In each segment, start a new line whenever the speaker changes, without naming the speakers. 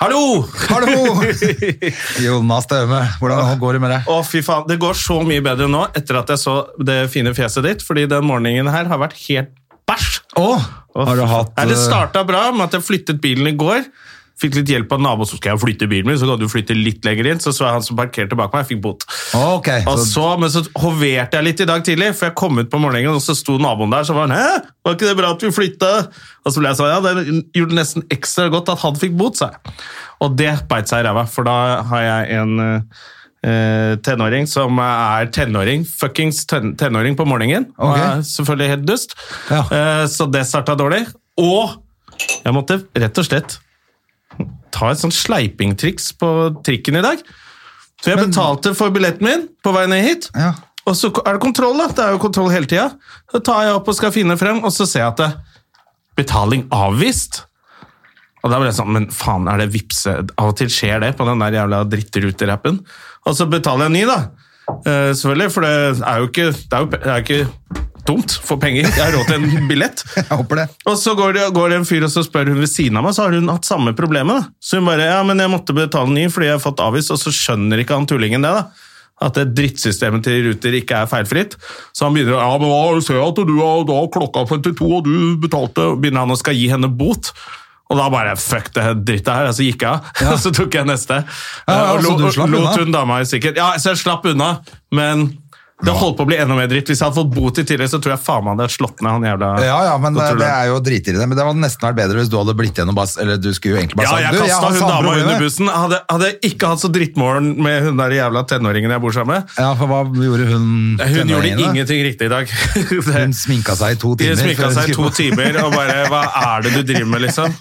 Hallo!
Hallo! Jonas Staume, hvordan går det med deg?
Å, fy faen. Det går så mye bedre nå etter at jeg så det fine fjeset ditt, fordi den morgenen her har vært helt bæsj.
Åh,
Å,
har
fy
du
faen.
hatt... eh,
Nei, Det starta bra med at jeg flyttet bilen i går. Fikk litt hjelp av naboen som skal jeg flytte bilen min, så kan du flytte litt lenger inn. Så så jeg han som parkerte bak meg, jeg fikk bot.
Åh, ok,
Og
så,
så, men så hoverte jeg litt i dag tidlig, for jeg kom ut på morgenen, og så sto naboen der, så var han 'hæ, var ikke det bra at vi flytta?' Og så ble jeg sånn, ja, det gjorde nesten ekstra godt at han fikk bot, sa jeg. Og det beit seg i ræva, for da har jeg en eh, tenåring som er tenåring, fuckings ten tenåring på morgenen, og
Ok.
er selvfølgelig helt dust.
Ja.
Eh, så det starta dårlig. Og jeg måtte rett og slett ta et sånt sleipingtriks på trikken i dag. Så jeg betalte for billetten min på vei ned hit,
ja.
og så er det kontroll, da. Det er jo kontroll hele tida. Så tar jeg opp og skal finne frem, og så ser jeg at det, betaling avvist. Og da ble jeg sånn, men faen, er det vipse? Av og til skjer det på den der jævla drittruterappen. Og så betaler jeg en ny, da. Eh, selvfølgelig, for det er jo ikke, det er jo, det er jo ikke dumt for penger. Jeg har råd til en billett.
Jeg håper det.
Og så går det, går det en fyr og så spør hun ved siden av meg, så har hun hatt samme problemet. da. Så hun bare ja, men jeg måtte betale ny fordi jeg har fått avvist, og så skjønner ikke han tullingen det. da. At det drittsystemet til Ruter ikke er feilfritt. Så han begynner å ja, men da ser jeg at du har da har klokka 52, og du betalte og Begynner han å skal gi henne bot. Og da bare fuck det drittet her, og så gikk jeg av. Og så tok jeg neste. Eh,
Ja, ja,
og
så
lo-
du slapp
lot
unna?
hun dama i sikkert. Ja, så jeg slapp unna, men det holdt på å bli enda mer dritt. Hvis jeg hadde fått bot i tillegg, så tror jeg faen meg han hadde slått ned han jævla
Ja, ja, men det,
kontrolløren.
det er jo dritirrende. Men det hadde nesten vært bedre hvis du hadde blitt gjennom bare, Eller du skulle jo egentlig bare
Ja,
sagt,
jeg
du,
kasta
har
hun
samme
dama
problemet.
under bussen. Hadde, hadde jeg ikke hatt så drittmorgen med hun der jævla tenåringen jeg bor sammen med.
Ja, for hva gjorde hun?
Hun gjorde
tenåringen da?
ingenting riktig i dag.
Hun sminka seg i to
De
timer.
sminka
før hun
seg i to
skulle-
timer og bare Hva er det du driver med, liksom?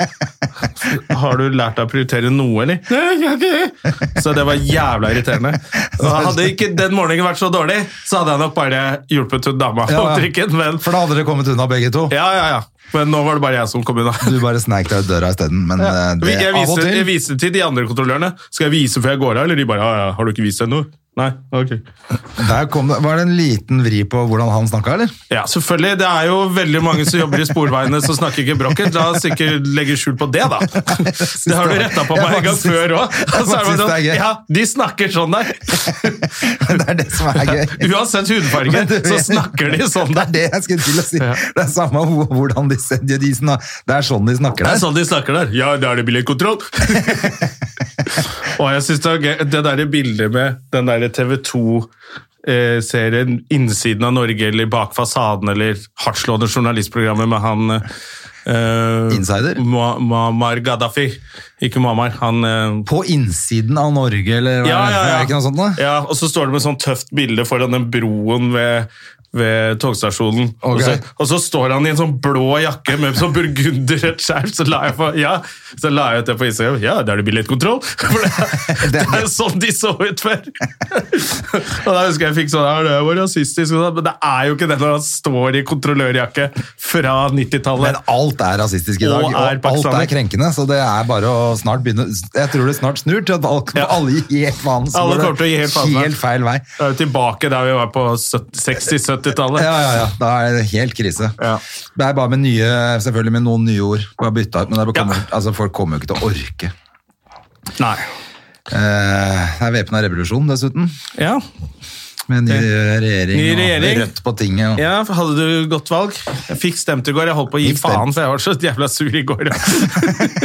Har du lært deg å prioritere noe, eller? Nei, jeg har ikke det. Så det var jævla irriterende. Og hadde ikke den morgenen vært så dårlig, så hadde jeg nok bare hjulpet hun dama på
Ja, ja.
trikken, men
For da hadde dere kommet unna begge to.
Ja, ja, ja. Men nå var det bare jeg som kom unna.
Du bare sneik deg ut døra isteden. Men eh, det,
jeg,
av og
viste, jeg
til
viste til de andre kontrollørene. Skal jeg vise før jeg går av? Eller de bare ja, ja, 'Har du ikke vist deg noe?' Nei, ok.
der kom det, Var det en liten vri på hvordan han snakka, eller?
Ja, selvfølgelig. Det er jo veldig mange som jobber i Sporveiene som snakker ikke brokket. La oss ikke legge skjul på det, da. Det har du retta på
Jeg
meg en gang
faktisk-
før òg.
jeg faktisk synes det er gøy.
Ja, de snakker sånn der.
det er det som er gøy.
Uansett hudfarge,
Men du
så
vet-
snakker de sånn
Det
der.
er det jeg skulle til å si. Det er samme hvor- hvordan de, ser- de, de snak- Det er sånn de
Det
snakker der.
er sånn de snakker der. Ja, da er det billettkontroll! og jeg synes det er gøy, det der bildet med den der TV 2-serien Innsiden av Norge, eller Bak fasaden, eller hardtslående journalistprogrammet med han eh,
Insider?
Mua- Muammar Gaddafi. Ikke Muammar, han eh,
På innsiden av Norge, eller hva er det? Er det ikke noe sånt nå?
ja, og så står det med sånn tøft bilde foran den broen ved, ved togstasjonen. Og,
Ok.
så, og så står han i en sånn blå jakke med sånn burgunderrødt skjerf, så la jeg, på, ja, så la jeg ut det på Instagram. Ja, da er det billettkontroll! For det, det er jo sånn de så ut før! og da husker jeg jeg fikk sånn her, det var rasistisk, og sånn, men det er jo ikke det når han står i kontrollørjakke fra
Men
90-tallet.
alt er rasistisk i
Og
dag, og,
er
alt
pakistaner.
er krenkende. Så det er bare å snart begynne Jeg tror det snart snur til at alle,
Ja.
alle gir helt faen. så
Alle
går det
kommer til å gi helt faen, ja.
Helt feil vei.
Det er jo tilbake der vi var på 70 60-70-tallet.
Ja, ja, ja. Da er det helt krise.
Ja.
Det er bare med nye, selvfølgelig med noen nye ord. Bare bytta ut, men det
Ja.
kommer, altså, folk kommer jo ikke til å orke.
Nei.
Eh, det er væpna revolusjon, dessuten.
Ja.
Med ny regjering,
Ny regjering.
og Rødt på tinget. Og.
Ja, hadde du godt valg? Jeg fikk stemt i går. Jeg holdt på å gi
Fikk stemt.
faen, for jeg var så jævla sur i går.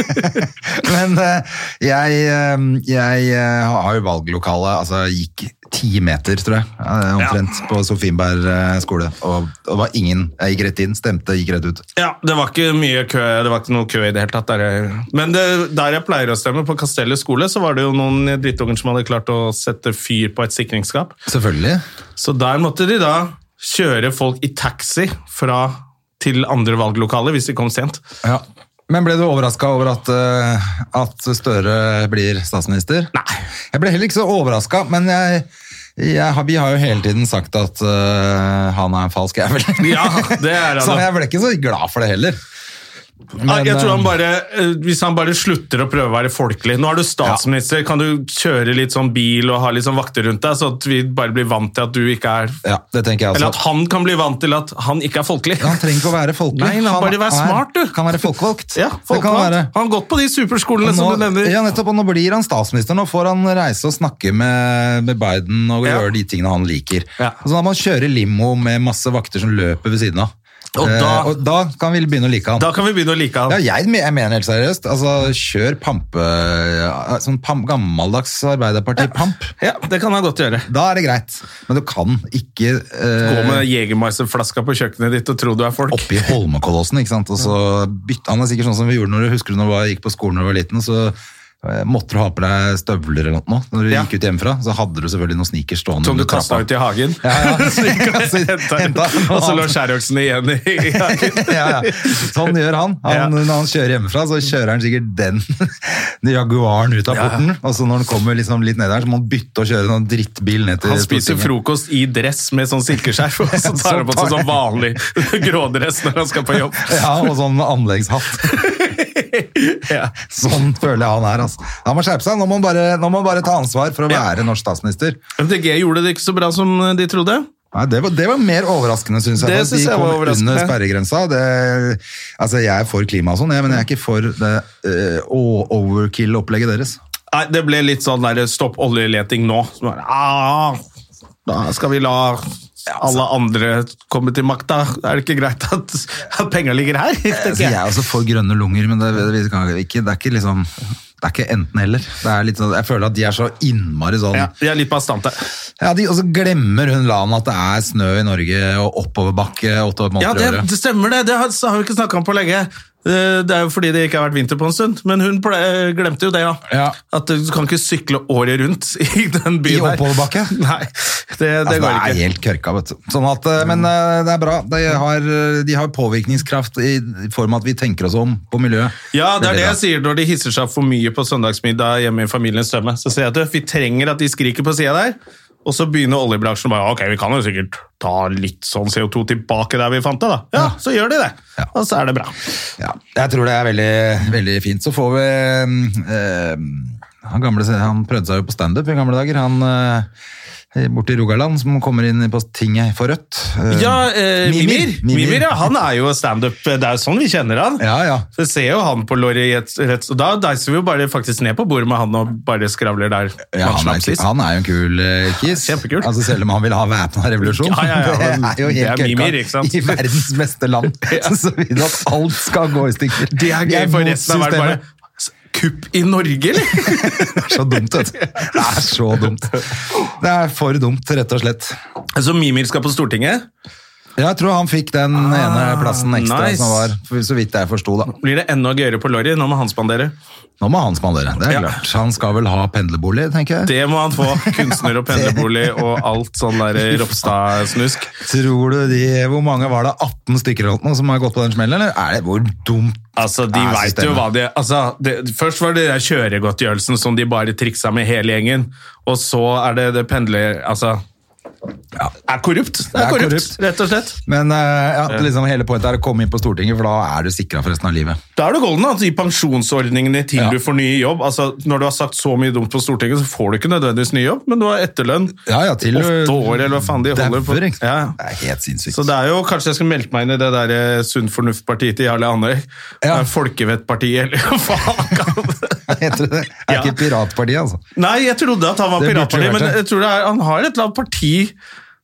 Men eh, jeg, eh, jeg eh, har jo valglokale, altså jeg gikk ti meter, tror jeg, eh, omtrent på Sofienberg eh, skole. Og, og det var ingen, jeg gikk rett inn, stemte, gikk rett ut.
Ja, Det var ikke mye kø, det var ikke noe kø i det hele tatt. Der jeg, men det, der jeg pleier å stemme, på Kastellet skole, så var det jo noen drittunger som hadde klart å sette fyr på et sikringsskap.
Selvfølgelig.
Så der måtte de da kjøre folk i taxi fra til andre valglokaler hvis de kom sent.
Ja. Men ble du overraska over at, eh, at Støre blir statsminister? Nei. Jeg ble heller ikke så overraska, men jeg, jeg, har- vi har jo hele tiden sagt at eh, han er en falsk jævel.
Ja, det er han,
så
da.
jeg ble ikke så glad for det heller.
Nei, jeg tror han
eh,
bare, eh, Hvis han bare slutter å prøve å være folkelig Nå er du statsminister, kan du kjøre litt sånn bil og ha litt sånn vakter rundt deg, så at vi bare blir vant til at du ikke er
ja, det tenker jeg også.
Eller at han kan bli vant til at han ikke er folkelig.
Han trenger ikke å være folkelig.
Nei, la bare være
er-
smart, du.
Kan være folkevalgt.
Ja,
Det kan
folkevalgt.
være.
Han har gått på de superskolene
Og
som
nå-
du nevner.
Ja, nettopp, og nå blir han statsminister. Nå får han reise og snakke med, med Biden og
Ja.
gjøre de tingene han liker.
Ja.
Og Så da må han kjøre limo med masse vakter som løper ved siden av.
Og da-
eh, og da kan vi begynne å like han.
Da kan vi begynne å like
Ja,
han.
jeg, me- jeg mener helt seriøst. Altså, kjør pampe... ja, Sånn pam, gammeldags Arbeiderparti-pamp.
Ja, Det kan han godt gjøre.
Da er det greit. Men du kan ikke eh,
Gå med Jegermeister-flaska på kjøkkenet ditt og tro du er folk.
oppe i Holmenkollåsen, ikke sant? Og så bytte, han er sikkert sånn som vi gjorde når du husker du når du var- gikk på skolen når du var liten, så eh, måtte du ha på deg støvler eller noe når du
Ja.
gikk ut hjemmefra, så hadde du selvfølgelig noen sneakers stående
Som du
under
kasta
trappa.
ut i hagen.
Ja, ja.
Så gikk han og
Så
hentet den,
hentet den.
og så lå skjæroksen igjen i i hagen.
ja, ja. Sånn gjør han. han
Ja.
Når han kjører hjemmefra, så kjører han sikkert den Jaguaren ut av porten. Og så når han kommer liksom litt ned der, så må han bytte og kjøre noen drittbil ned til
Eh, Han spiser
Stortinget.
frokost i dress med sånn silkeskjerf, og så tar han på seg sånn vanlig grådress når han skal på jobb.
Ja, og sånn anleggshatt.
Ja.
Sånn føler jeg han er. Altså. Han må skjerpe seg. Nå må han bare, nå må han bare ta ansvar for å
Ja.
være norsk statsminister.
MDG gjorde det ikke så bra som eh, de trodde.
Nei, det, var, det var mer overraskende, syns jeg.
Det
at
synes jeg
de kom
var overraskende.
Under sperregrensa. Det, altså, jeg er for klima og sånn, jeg, men jeg er ikke for det eh, å- overkill-opplegget deres.
Nei, Det ble litt sånn der, stopp oljeleting nå. Så bare, «Ah, Da skal vi la alle andre komme til makta. Er det ikke greit at, at penga ligger her?
Altså,
tenker
jeg
jeg.
er også for grønne lunger, men det, det, det, ikke, det er ikke liksom det er ikke enten-eller. Jeg føler at de er så innmari sånn
Ja, jeg er litt bastante.
Ja, de, Og så glemmer hun Lan at det er snø i Norge og oppoverbakke åtte
Ja,
måneder i
det,
året.
det stemmer det. Det har, så har vi ikke snakka om på lenge. Eh, Det er jo fordi det ikke har vært vinter på en stund. Men hun ple eh, glemte jo det, ja.
Ja.
At du kan ikke sykle året rundt i den byen her.
oppoverbakke?
Nei, det, det
Altså,
går
det er
ikke.
helt kørka, vet du. Sånn at, eh, men eh, det er bra. De har, eh, de har påvirkningskraft i form av at vi tenker oss om på miljøet.
Ja, det er det jeg
Veldig bra.
sier når de hisser seg opp for mye på søndagsmiddag hjemme i familiens stømme. Så sier jeg at vi trenger at de skriker på sida der. Og så begynner oljebransjen bare Ok, vi kan jo sikkert ta litt sånn CO2 tilbake der vi fant det, da. Ja, så gjør de det.
Ja.
Og så er det bra.
Ja, jeg tror det er veldig, veldig fint. Så får vi eh, han, gamle, han prøvde seg jo på standup i gamle dager. Han eh, borte i Rogaland som kommer inn på Tinget for Rødt. Eh,
Ja, eh, Mimir. Mimir, ja, han er jo standup. Det er jo sånn vi kjenner han.
Ja, ja.
Så ser jo han på Laurettes og da deiser vi jo bare faktisk ned på bordet med han og bare skravler der.
Ja, han,
slapp
er,
sist.
han er jo en kul eh, kis.
Kjempekul.
Altså, selv om han vil ha væpna revolusjon.
Ja, ja, ja, men
det er jo
det
helt
er mimir, ikke
kølka
sant?
i verdens beste land. Så vil du at alt skal gå i stykker.
Det er
Vi
gøy for
mot
resten av verden.
systemet.
bare "S- Kupp i Norge, eller?
Det er så dumt, vet du. Det er så dumt. Det er for dumt, rett og slett.
Så Mimir skal på Stortinget.
Jeg tror han fikk den ene plassen ekstra
Ah, nice.
som var, for- så vidt jeg forsto, da.
Blir det enda gøyere på Lorry? Nå må han spandere.
Nå må han spandere, det er
Ja.
klart. Han skal vel ha pendlerbolig, tenker jeg.
Det må han få. Kunstner og pendlerbolig og alt sånn der Ropstad-snusk.
Tror du de, hvor mange var det, 18 stykker eller noe som har gått på den smellen, eller er det hvor dumt?
Altså, De
er
vet jo
systemet?
hva de altså, det, Først var det den kjøregodtgjørelsen som de bare triksa med hele gjengen, og så er det det pendler... Altså er korrupt. Det er,
Det er
korrupt,
korrupt.
rett og slett.
Men eh, ja, liksom hele pointet er å komme inn på Stortinget, for da er du sikra for resten av livet.
Da er du golden altså, i pensjonsordningene til
Ja.
du får ny jobb. Altså, når du har sagt så mye dumt på Stortinget, så får du ikke nødvendigvis ny jobb, men du har etterlønn.
Ja, ja, til
Åtte år, eller hva faen de holder på.
Derfor, ikke sant?
Ja.
Det er helt sinnssykt.
Så det er jo, Kanskje jeg skal melde meg inn i det der eh, Sunn fornuft-partiet til Jarle Andøy.
Ja.
Eh, Folkevettpartiet, eller hva faen kan det
Heter det det? Det er
Ja.
ikke Piratpartiet, altså.
Nei, jeg trodde at han var
Det burde
piratparti,
vært
men
det.
jeg tror det er, han har et eller annet parti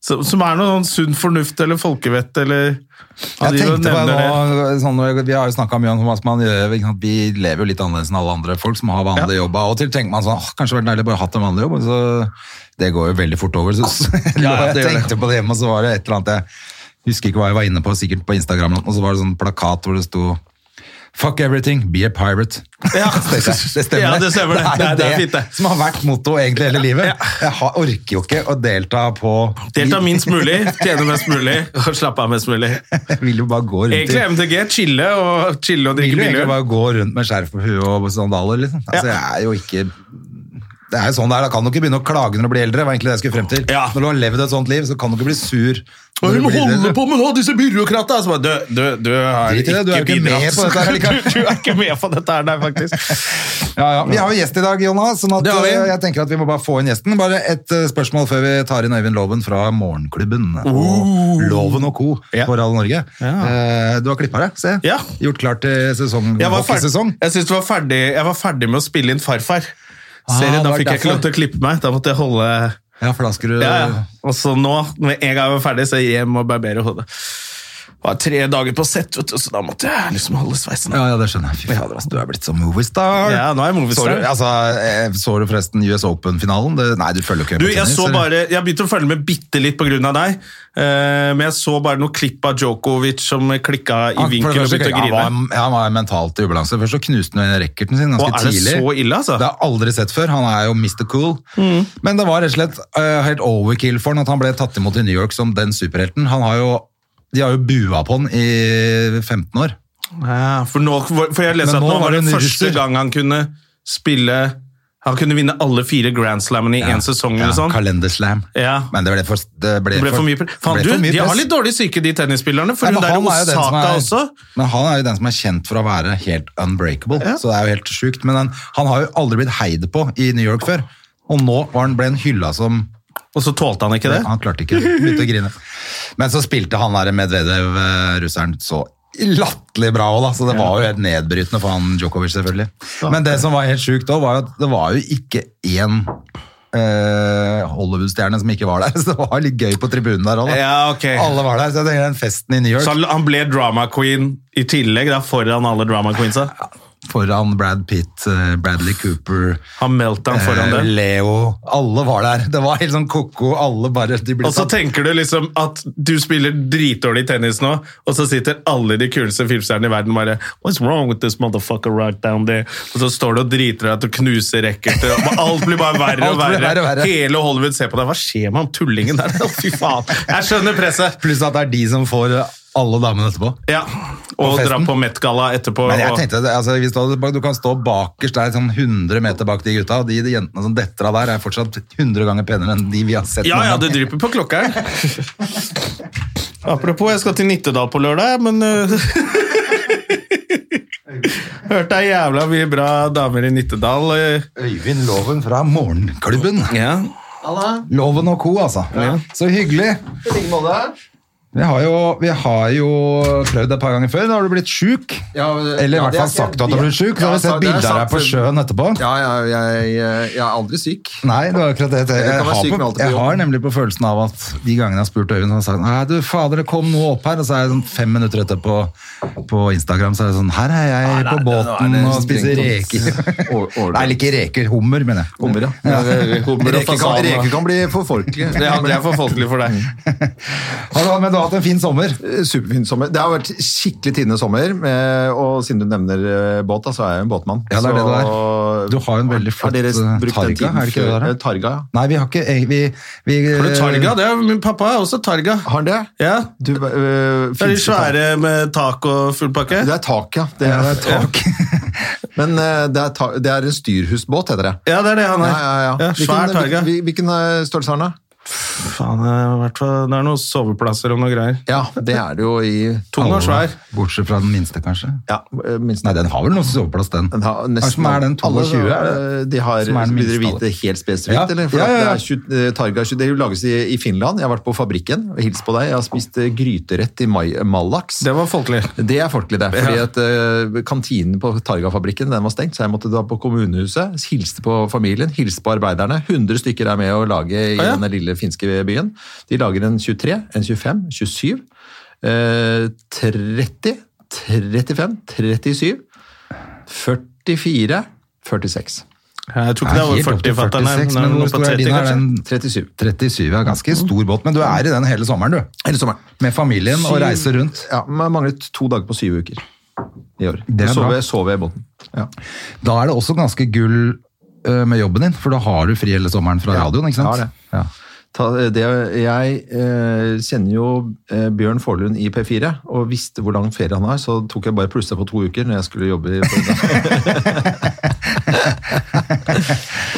som, som er noe sånn sunn fornuft eller folkevett eller Han
Jeg
driver og
tenkte på
nevner det.
nå, sånn, Vi har jo snakka mye om hva man gjør. Ikke sant? Vi lever jo litt annerledes enn alle andre folk som har vanlige jobber. Av og til tenker man sånn åh, Kanskje det hadde vært deilig å bare hatt en vanlig jobb. og Så det går jo veldig fort over. Så, så
Ja, ja, det
jeg
gjør
tenkte på det hjemme, og så var det et eller annet jeg husker ikke hva jeg var inne på, sikkert på Instagram, eller noe, og så var det sånn plakat hvor det sto Fuck everything, be a pirate.
Ja.
det stemmer. Det stemmer,
Ja, det stemmer det.
er jo
Det er- det er fint, det.
som har vært motto egentlig hele livet. Jeg har, orker jo ikke å delta på
Delta minst mulig, tjene mest mulig og slappe av mest mulig.
Jeg vil jo bare gå rundt i-
Egentlig MDG, chille og, chille og
vil
drikke
jo egentlig
billig.
bare gå rundt med skjerf på huet og sandaler, liksom. Altså, jeg er jo ikke... Det er jo sånn det er, da kan du ikke begynne å klage når du blir eldre, var egentlig det jeg skulle frem til.
Ja.
Når du har levd et sånt liv, så kan du ikke bli sur. når
Hva
du blir eldre.
holder på med nå, disse byråkratene? Så bare, Du, du, du har
Drit
ikke,
i det, du er jo ikke med
bidratt.
på dette her likevel.
Du er ikke med på dette her, nei, faktisk.
Ja, ja. Vi har jo gjest i dag, Jonas, sånn at
Det har vi.
eh, jeg tenker at vi må bare få inn gjesten. Bare et eh, spørsmål før vi tar inn Øyvind Loven fra Morgenklubben og Loven og co.
Ja.
på Radio Norge.
Ja.
Eh, Du har klippa deg, se.
Ja.
Gjort klart til sesong,
Jeg var, ferdig,
hockeysesong.
jeg, synes det var ferdig, jeg var ferdig med å spille inn Farfar.
Ah,
Serien, da
det var
fikk jeg ikke lov til å klippe meg. Da måtte jeg holde
Ja, for da skulle du
ja, ja. Eh, Og så nå, med en gang jeg var ferdig, så hjem og barbere hodet. Det var tre dager på sett, vet du, så da måtte jeg liksom holde sveisen.
Ja, ja, det skjønner jeg. Fy fader, ass, du er blitt som moviestar.
Ja, nå er jeg moviestar.
Så du, altså, eh, så du forresten US Open-finalen? Det- Nei, du følger jo ikke med
Du,
på
jeg
tennis,
så
eller?
bare, jeg begynte å følge med bitte litt pga. deg, eh, men jeg så bare noe klipp av Djokovic som klikka i
Han- Ah, for det
vinkel og
første-
begynte å
han
grine.
var- Ja, han var mentalt i ubalanse. Først så knuste han racketen sin ganske
Og er det
tidlig.
så ille, altså? Mm.
Det har jeg aldri sett før. Han er jo Mr. Cool. Men det var rett og slett eh, helt overkill for han at han ble tatt imot i New York som den superhelten. Han har jo, de har jo bua på han i 15 år.
Ja, for, nå, for jeg leste
Men
at nå
nå var
var det
det en
første
russer.
gang han kunne spille Han kunne vinne alle fire Grand Slammene i én sesong.
Ja,
eller sånn.
Kalenderslam.
Ja.
Men det ble for, det ble
Det ble for mye pre- Faen,
det
du,
ble for mye
de har
press.
litt dårlig psyke, de tennisspillerne. For hun
Nei, men
der
han er jo den som
Osaka
er-
også.
Men han er jo den som er kjent for å være helt unbreakable, så det er jo helt sjukt. Men han, han har jo aldri blitt heid på i New York før, og nå var han, ble han hylla som
Og så tålte han ikke det.
Han klarte ikke, begynte å grine. Men så spilte han der Medvedev, eh, russeren, så latterlig bra òg, da. Så det var jo helt nedbrytende for han Djokovic, selvfølgelig. Men det som var helt sjukt òg, var jo at det var jo ikke én eh, Hollywood-stjerne som ikke var der, så det var litt gøy på tribunen der òg, da.
Ja, ok.
Alle var der, så jeg tenker den festen i New York
Så han, han ble drama queen i tillegg, da, foran alle drama queensa.
foran Brad Pitt, eh, Bradley Cooper,
Han meldte han foran
eh,
det.
Leo. Alle var der. Det var helt sånn koko. Alle bare de ble sånn-
Og så
satt-
tenker du liksom at du spiller dritdårlig tennis nå, og så sitter alle de kuleste filmstjernene i verden bare What's wrong with this motherfucker right down there? Og så står du og driter deg ut og knuser racketen, og alt blir bare verre og
Alt blir
verre.
verre og verre.
Hele Hollywood ser på deg. Hva skjer med han tullingen der? Å, Fy faen. Jeg skjønner presset.
Pluss at det er de som får eh, alle damene etterpå.
Ja. Og
Og festen?
dra på Met-galla etterpå.
Men jeg
og-
tenkte, at, altså, hvis du, hadde- du kan stå bakerst der, sånn 100 meter bak de gutta, og de, de jentene som detter av der, er fortsatt 100 ganger penere enn de vi har sett.
Ja,
noen
ja,
gang.
det dryper på klokka her. Apropos, jeg skal til Nittedal på lørdag, men uh, Hørte det er jævla mye bra damer i Nittedal. eh.
Øyvind Loven fra Morgenklubben.
Ja.
Loven og co, altså. Så hyggelig. Vi har, jo, vi har jo prøvd et par ganger før. Da har du blitt sjuk.
Ja, men-
Eller i
ja,
hvert
det
fall
er-
sagt at du har blitt sjuk. Så
Ja,
har vi
sa-
sett
det er
bilder av deg på
sant.
sjøen etterpå.
Ja, ja jeg, jeg, jeg er aldri syk.
Nei, det var akkurat det. Jeg,
kan være
har,
syk med
på,
alt det på
jeg
jobb.
har nemlig på følelsen av at de gangene jeg har spurt Øyvind, så har han sagt Nei, du fader, det kom noe opp her. Og så er jeg sånn fem minutter etterpå på Instagram, så er det sånn Her er jeg på båten
nå er det
og spiser
strengt.
reker.
Å- å-
Nei, ikke reker. Hummer, mener jeg.
Hummer, ja.
Hummer og
Reker kan,
fasan, da.
reker kan bli for folkelig.
Det hadde jeg for folkelig for deg.
Har du, men du har hatt en fin sommer.
Eh, Superfin sommer. Det har vært skikkelig tinne sommer, eh, og siden du nevner eh, båt, da, så er jeg en båtmann.
Ja, det er det du
Så-
er. Du har en veldig flott
Har dere
eh,
brukt den
targa,
tiden
er det ikke det
før-
der?
Eh, Targa, ja.
Nei, vi har ikke eh, vi, vi,
Har du targa? Det er, min pappa er også targa.
Har han det?
Ja.
Du, eh,
Det er de
finnes det
svære med tak og full pakke.
tak? Det er tak, ja. Det er, tak. Men eh, det er, ta, det er en styrhusbåt, heter det.
Ja, det er det han
Ja,
er.
ja, ja.
svær targa.
Hvilken, hvilken eh, størrelse har den, da?
Faen, det er i hvert fall- det er noen soveplasser og noe greier.
Ja, det er det jo i
Tung og svær.
Bortsett fra den minste, kanskje.
Ja, eh, minst
Nei, den har vel noe soveplass, den.
Den har
Hva
nesten
som er den 22?
alle,
er det?
eh, De har,
Som er den
vil dere
minste av
vite
det.
helt spesifikt,
Ja.
eller? For
Ja, ja, ja.
at Det, er 20, eh, targa, 20 det lages i, i Finland. Jeg har vært på fabrikken og hilst på deg. Jeg har spist eh, gryterett i mai, Malax.
Det var folkelig.
Det er folkelig, det. Fordi at eh, Kantinen på Targa-fabrikken den var stengt, så jeg måtte dra på kommunehuset. Hilste på familien, hilste på arbeiderne. 100 stykker er med å lage i
ja.
denne lille finske byen. De lager en 23, en 25, 27, eh, 30, 35, 37, 44, 46.
Jeg tror ikke
Ja,
det var
helt opp til
40 fatteren her. men
46,
det er
men
noe
hvor
på
stor er
30,
din? Er
kanskje.
den
37.
37 er ganske stor båt, men du er i den hele sommeren, du.
Eller sommeren.
Med familien og reiser rundt.
Ja, man manglet to dager på syv uker. i år.
Det er
Så
bra.
jeg sover jeg i båten. Ja.
Da er det også ganske gull eh, med jobben din, for da har du fri hele sommeren fra
Ja,
radioen, ikke sant?
jeg har det. Ta, det, jeg eh, kjenner jo eh, Bjørn Forlund i P4 og visste hvor lang ferie han har, så tok jeg bare plussa på to uker når jeg skulle jobbe. i Florida.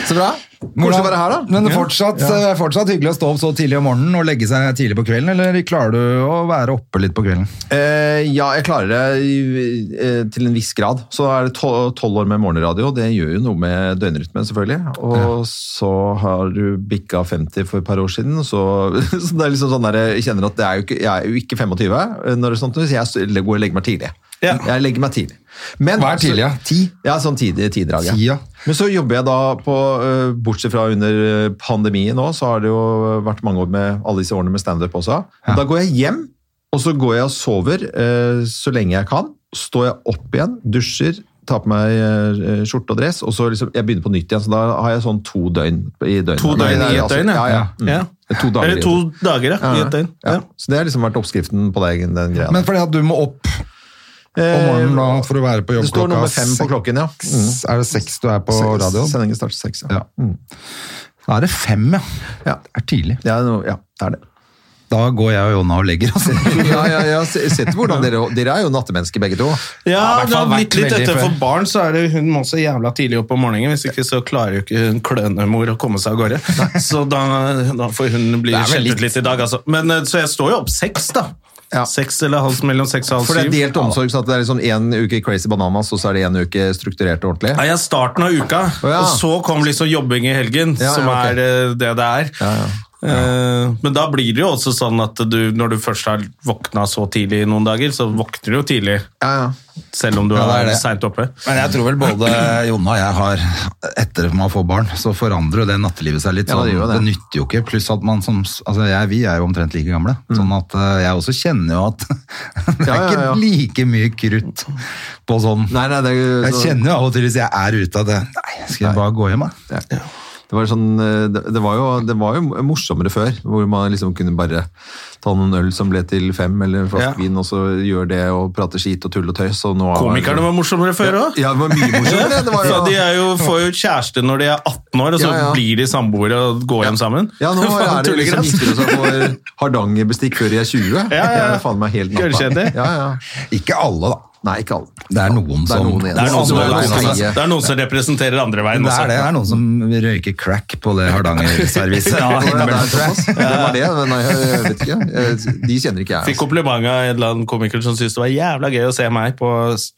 så bra. Koselig å være her, da.
Men det er fortsatt, eh, fortsatt hyggelig å stå opp så tidlig om morgenen og legge seg tidlig på kvelden, eller klarer du å være oppe litt på kvelden?
Eh, ja, jeg klarer det i- eh, til en viss grad. Så er det tolv år med morgenradio. Det gjør jo noe med døgnrytmen, selvfølgelig. Og så har du bikka 50 for et par år siden, så, så det er liksom sånn der, jeg kjenner at det er jo ikke, jeg er jo ikke 25 eh, når det er sånt, så jeg s- går og legger meg tidlig.
Ja.
Jeg legger meg tidlig. Men,
Hva er tidlig, ja? Ti?
Ja, sånn tidlig tiddrag. ja.
Ti, ja.
Men så jobber jeg da på, eh, bortsett fra under eh, pandemien nå, så har det jo vært mange år med alle disse årene med standup også.
Ja.
Da går jeg hjem, og så går jeg og sover eh, så lenge jeg kan. Står jeg opp igjen, dusjer, tar på meg eh, skjorte og dress, og så liksom, jeg begynner på nytt igjen. Så da har jeg sånn to døgn i døgnet.
To døgn i et
Altså,
døgn, ja.
ja. ja, Mm.
Ja.
To dager
Eller to dager, ja. I et døgn.
Ja.
Ja.
Så det har liksom vært oppskriften på deg, den greia. Eh,
Men fordi at du må opp om morgenen da for å være på jobb
det står
klokka
nummer fem på klokken, ja. Mm.
seks- Er det seks du er på radioen?
Sendingen starter seks, ja.
Ja. Da er det fem, ja.
Ja.
Det er tidlig.
Det er noe, ja, det er det.
Da går jeg og Jonna og legger oss.
Ja, ja, ja, se- sett hvordan dere, dere er jo nattemennesker begge to.
Ja,
Ja, i hvert
det har blitt
fall vært
litt
veldig
etter for
før.
barn, så er det hun må så jævla tidlig opp om morgenen. Hvis ikke så klarer jo ikke hun klønemor å komme seg av gårde. Så da, da får hun bli
Det er vel
skjelt
litt-
ut litt i dag, altså. Men, eh, så jeg står jo opp seks, da.
Ja.
Seks eller halv, mellom seks og halv
For det er
syv.
delt omsorg, sånn at det er liksom en uke crazy bananas, og så er det en uke strukturert og ordentlig.
Nei, jeg starten av uka,
Å, ja.
og så kom liksom jobbing i helgen,
Ja, ja,
som
ok.
er eh, det det er. Eh, Men da blir det jo også sånn at du, når du først har våkna så tidlig i noen dager, så våkner du jo tidlig,
Ja, ja.
selv om du
Ja, det er
er,
det.
sent oppe.
Men jeg tror vel både Jonna og jeg har Etter at man får barn, så forandrer jo det nattelivet seg litt.
Ja,
Sånn,
det
det,
gjør det.
nytter jo ikke. Pluss at man som Altså, jeg, vi er jo omtrent like gamle. Sånn at eh, jeg også kjenner jo at det er
Mm. Ja, ja,
ikke
ja.
like mye krutt på sånn
Nei, nei, det, er jo
Jeg
så-
kjenner jo av og til hvis jeg er ute at det, Nei, skal jeg bare gå hjem, da?
det var, sånn, eh, det, det, var jo, det var jo morsommere før, hvor man liksom kunne bare ta noen øl som ble til fem, eller en flaske
Ja.
vin, og så gjør det, og prate skit og tull og tøys. Og nå er-
Komikerne var morsommere før òg.
Ja, det var mye morsommere. Det var
Så de
jo...
er jo, får jo kjæreste når de er 18 år, og så
Ja, ja.
blir de samboere og går hjem sammen.
Ja, nå
Faen,
er det liksom
tullegress.
nikker og så får hardangerbestikk før de er 20.
ja, ja.
Det er faen meg helt natta.
Ølkjeder.
Ja, ja.
Ikke alle, da.
Nei, ikke alle.
Det er noen
Det er
som Altså,
noen igjen.
det er
Altså,
noen som,
Det er noen som-
det er noen som representerer andre veien
det
også.
er det. Det er noen som røyker crack på det Hardanger-serviset.
Ja, det
innimellom,
er
tror jeg.
Thomas. Hvem er det? Men Nei, jeg vet ikke. Jeg- De kjenner ikke jeg.
Fikk
altså.
kompliment av en eller annen komiker som syntes det var jævla gøy å se meg på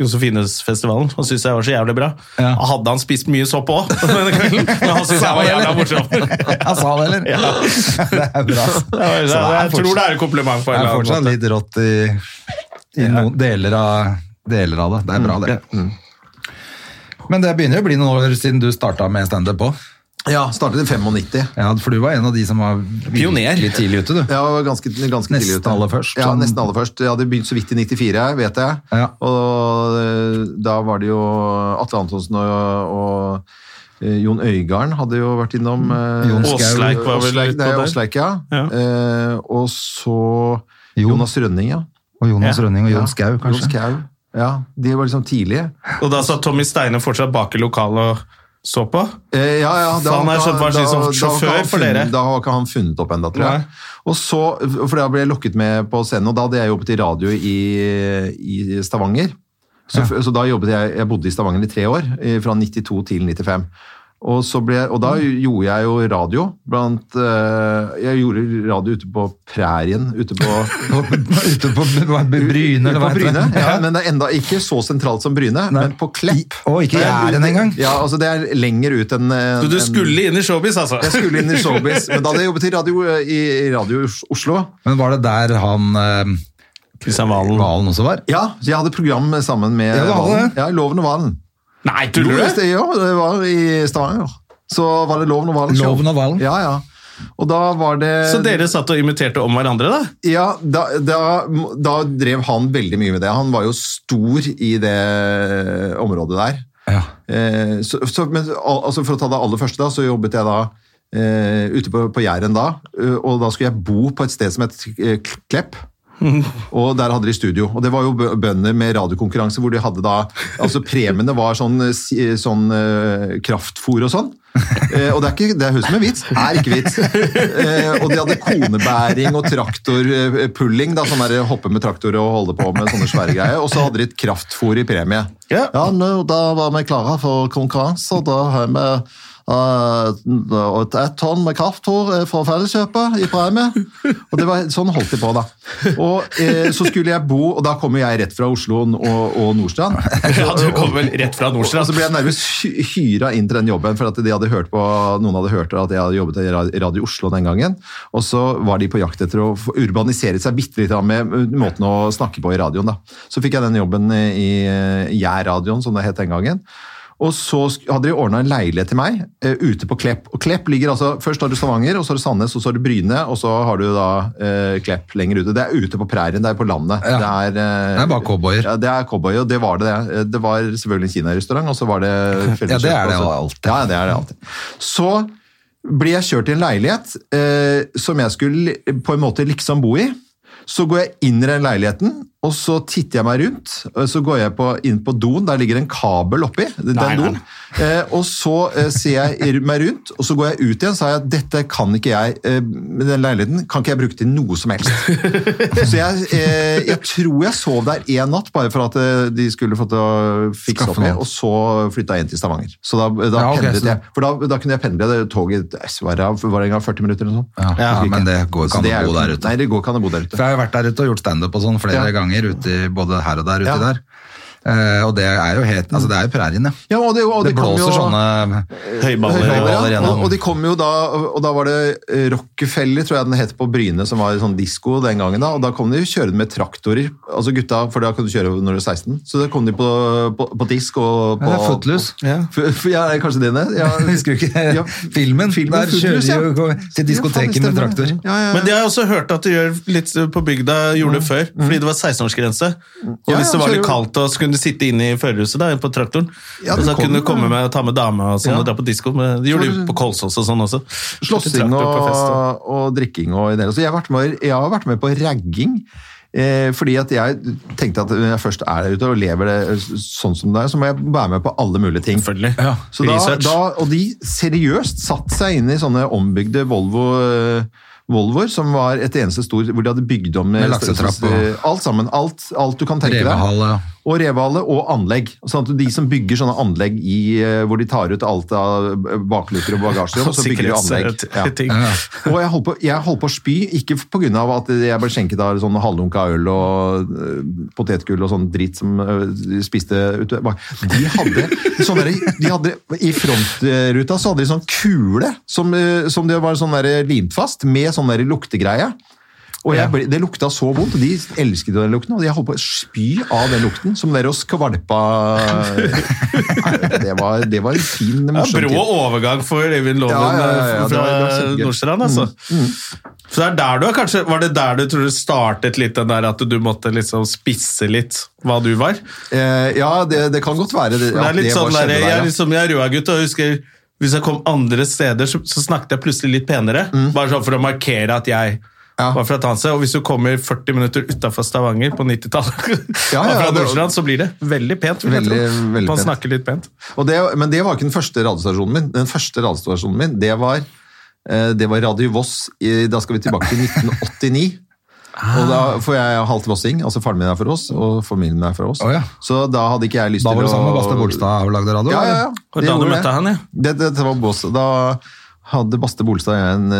Josefines-festivalen. Han syntes jeg var så jævlig bra.
Ja.
Hadde han spist mye sopp òg, men han syntes jeg var jævla morsom.
Han sa det, eller? Det er bra. ass.
Det var- sånn,
Så det er
Jeg tror det er et kompliment på en
Det er
eller annen
fortsatt
måte.
litt rått i, i noen deler av, deler av det. Det er bra, det. Men det begynner jo å bli noen år siden du starta med standup òg.
Ja, startet i 95.
Ja, for du var en av de som var
Pioner.
virkelig tidlig ute, du.
Jeg var ganske, ganske
Nesten
tidlig ute.
aller først,
Ja,
sånn.
nesten aller først. Jeg hadde begynt så vidt i 94, vet jeg.
Ja.
Og eh, da var det jo Atle Antonsen og, og eh, Jon Øygarden hadde jo vært innom. eh,
Mm. Jon Skau.
Åsleik var vel
Åsleik,
litt
nei,
på der.
Åsleik, ja.
Ja.
Eh, og så
Jon.
Jonas Rønning, ja.
Og Jonas
Ja.
Rønning og
Ja.
Jon Skau,
Jon
kanskje.
Skau. Ja, de var liksom tidlige.
Og da satt Tommy Steine fortsatt bak i lokalet og så på.
Eh, Ja, ja.
Så han er sånn bare sånn som
da- da har ikke
sjåfør
han
for
funnet-
dere?
Da har ikke han funnet opp ennå, tror jeg.
Nei.
Og så, for da ble jeg lokket med på scenen, og da hadde jeg jobbet i radio i, i Stavanger. Så, så da jobbet jeg, jeg bodde i Stavanger i tre år, eh, fra 92 til 95. Og, så ble, og da gjorde jeg jo radio blant eh, Jeg gjorde radio ute på prærien, ute på
Ute på Bryne, eller hva heter
på Bryne,
det?
ja, men det er enda ikke så sentralt som Bryne, men på Klepp.
I- å, ikke
Det er
Jæren
ut-
engang.
Ja, altså det er lenger ut enn
Så du skulle inn i showbiz, altså?
Jeg skulle inn i showbiz, men da hadde jeg jobbet i radio eh, i i Radio Os- Oslo.
Men var det der han eh,
Kristian Valen.
Valen også var?
Ja, så jeg hadde program sammen med
Ja, du hadde
Valen.
det.
Ja, Loven og Valen.
Nei,
Jo,
tuller du?
det, ja, det var i Stavanger. Så var det Loven og Valen. show.
Loven og Valen?
Ja, ja. Og da var det
Så dere satt og imiterte om hverandre, da?
Ja, da, da, da drev han veldig mye med det. Han var jo stor i det området der.
Ja.
Eh, så, så, men, al- altså for å ta det aller første, da, så jobbet jeg da eh, ute på, på Jæren da. eh, Og da skulle jeg bo på et sted som het eh, Klepp. Og der hadde de studio. Og det var jo bø- bønder med radiokonkurranse hvor de hadde da Altså premiene var sånn, eh, si- eh, sånn eh, kraftfôr og sånn. Eh, og det er ikke det høres ut som en vits. Er ikke vits. Eh, og de hadde konebæring og traktorpulling. da, Sånn der hoppe med traktor og holde på med sånne svære greier. Og så hadde de et kraftfôr i premie.
Ja.
Ja, nå, da var vi klare for konkurranse, og da har vi eh, et- ett tonn med kraftfôr eh, fra Felleskjøpet i premie. Og det var, sånn holdt de på, da. Og eh, så skulle jeg bo, og da kommer jeg rett fra Oslo og, og Nordstrand.
Ja, du kom vel rett fra altså,
Og
Nordstrand.
så ble jeg nærmest hy- hyra inn til den jobben, for at de hadde hørt på, noen hadde hørt at jeg hadde jobbet i Ra- Radio Oslo den gangen. Og så var de på jakt etter å få urbanisere seg bitte litt med måten å snakke på i radioen. Da. Så fikk jeg den jobben i Jærradioen, som det het den gangen. Og så sk- hadde de ordna en leilighet til meg eh, ute på Klepp. Og Klepp ligger altså, Først har du Stavanger, og så har du Sandnes, og så har du Bryne, og så har du da eh, Klepp lenger ute. Det er ute på prærien, det er på landet.
Ja.
Det er, eh,
Det er bare cowboyer.
Ja, det er cowboy, og det var det. Det var selvfølgelig en kinarestaurant, og så var det
Ja, det er det
også.
alltid.
Ja, det er det alltid. Så blir jeg kjørt til en leilighet eh, som jeg skulle li- på en måte liksom bo i. Så går jeg inn i den leiligheten, og så titter jeg meg rundt. og Så går jeg på, inn på doen, der ligger en kabel oppi. den
Nei, nei,
doen. Eh, og så eh, ser jeg r- meg rundt, og så går jeg ut igjen og sier at dette kan ikke jeg, eh, med den leiligheten kan ikke jeg bruke til noe som helst. Så jeg, eh, jeg tror jeg sov der én natt, bare for at eh, de skulle fått å fikse
Skaffe
opp i,
noe.
og så flytta jeg inn til Stavanger. Så da, da
Ja, ok,
pendlet
så-
jeg. For da, da kunne jeg pendle det toget det var det en gang 40 minutter eller noe sånt.
Ja, ja, men det går
Så
ikke
det er
an å
jo-
bo der ute.
Nei, det går ikke an å bo der ute.
For jeg har jo vært der ute og gjort standup og sånn flere
Ja.
ganger, ute, i- både her og der uti
Ja.
der. Eh, og det er jo helt Altså, det er jo prærien, ja.
Ja, og det, og
Det
kom
blåser
jo-
sånne
Høyballer.
Høyballer,
og-
Ja,
allerede.
og, og de kom jo da, og da var det eh, Rockefeller, tror jeg den het på Bryne, som var sånn disco den gangen da, og da kom de jo kjørende med traktorer, altså gutta, for da kan du kjøre når du er 16, så da kom de på, på, på disk
Ja,
og på...
det er Footloose.
Ja, ja er det kanskje det, det? Ja,
Husker du ikke
Ja.
filmen?
Filmen
Der kjører de
Footloose, ja.
jo til
Ja, faen,
diskoteket
det
med
stemmer.
traktor.
Ja, ja,
Men det har jeg også hørt at de gjør litt på bygda, gjorde det før, fordi det var 16-årsgrense. Og
Ja,
hvis
Mm. ja,
det var
så
litt
jo-
kaldt, og så kunne du sitte inne i førerhuset da, på traktoren,
Ja,
og
det
så
kom-
kunne du komme med og ta med dame og sånn, og dra på disko. Men Det gjorde de jo på Kolsås og sånn også.
Slåssing
Traktor på fest, da.
og, og drikking og en del. Så jeg har vært med, jeg har vært med på ragging. Eh, fordi at jeg tenkte at når jeg først er der ute og lever det sånn som det er, så må jeg være med på alle mulige ting.
Selvfølgelig.
Så da,
Research.
da, og de seriøst satt seg inn i sånne ombygde Volvo, eh, Volvoer, som var et eneste stor, hvor de hadde bygd om eh,
Med laksetrapp
størrelses- alt sammen, alt, alt du kan tenke deg.
Revehale.
Og revehale og anlegg. Sånn at de som bygger sånne anlegg i, eh, hvor de tar ut alt av bakluker og bagasjerom, så bygger de anlegg. Ja.
Sikkerhetsting.
Ja.
Og jeg holdt, på, jeg holdt på å spy, ikke pga. at jeg ble skjenket av sånn halvlunka øl og øh, potetgull og sånn dritt som øh, de spiste ute. Bare- De hadde, sånn derre- de hadde I frontruta så hadde de sånn kule som, øh, som det var sånn derre limt fast, med sånn derre luktegreie. Og jeg, ble- Det lukta så vondt, og de elsket jo den lukten. Og jeg holdt på å spy av den lukten, som dere skvalpa Nei, Det var, det var en fin,
Ja,
morsom
Brå
tid.
overgang for Øyvind Loven
Ja, ja, ja, ja,
eh,
det var- det var Mm,
fra
kjempegøy.
Nordstrand, altså. Så det er der du har kanskje, Var det der du tror du startet litt den der at du måtte liksom spisse litt hva du var?
Eh, ja, det, det kan godt være. Det,
Det
at
er litt
det var
sånn der,
skjedde
jeg,
der, ja.
er liksom, jeg er røa-gutt, og jeg husker hvis jeg kom andre steder, så, så snakket jeg plutselig litt penere. Bare sånn for å markere at jeg
Mm. Ja.
var fra Tanse. Og hvis du kommer 40 minutter utafor Stavanger på 90-tallet,
Ja,
og
ja,
fra
det-
Nordstrand, så blir det veldig pent. Vil jeg
Veldig,
tro.
veldig
Man
pent.
snakker litt pent.
Og det, men det var ikke den første radiostasjonen min. Den første radiostasjonen min, det var, eh, det var Radio Voss. i- Da skal vi tilbake til 1989.
Ah.
Og da, for jeg er halvt vossing, altså faren min er fra Voss, og familien min er fra Voss.
Å ja.
Så da hadde ikke jeg lyst
Da
til
var du sammen med Baste Bolstad og lagde radio?
Ja, ja,
eller?
ja.
Og
Det
da du
gjorde
møtte
jeg.
han, ja.
Det, det, det var Voss. Da hadde Baste Bolstad og jeg en,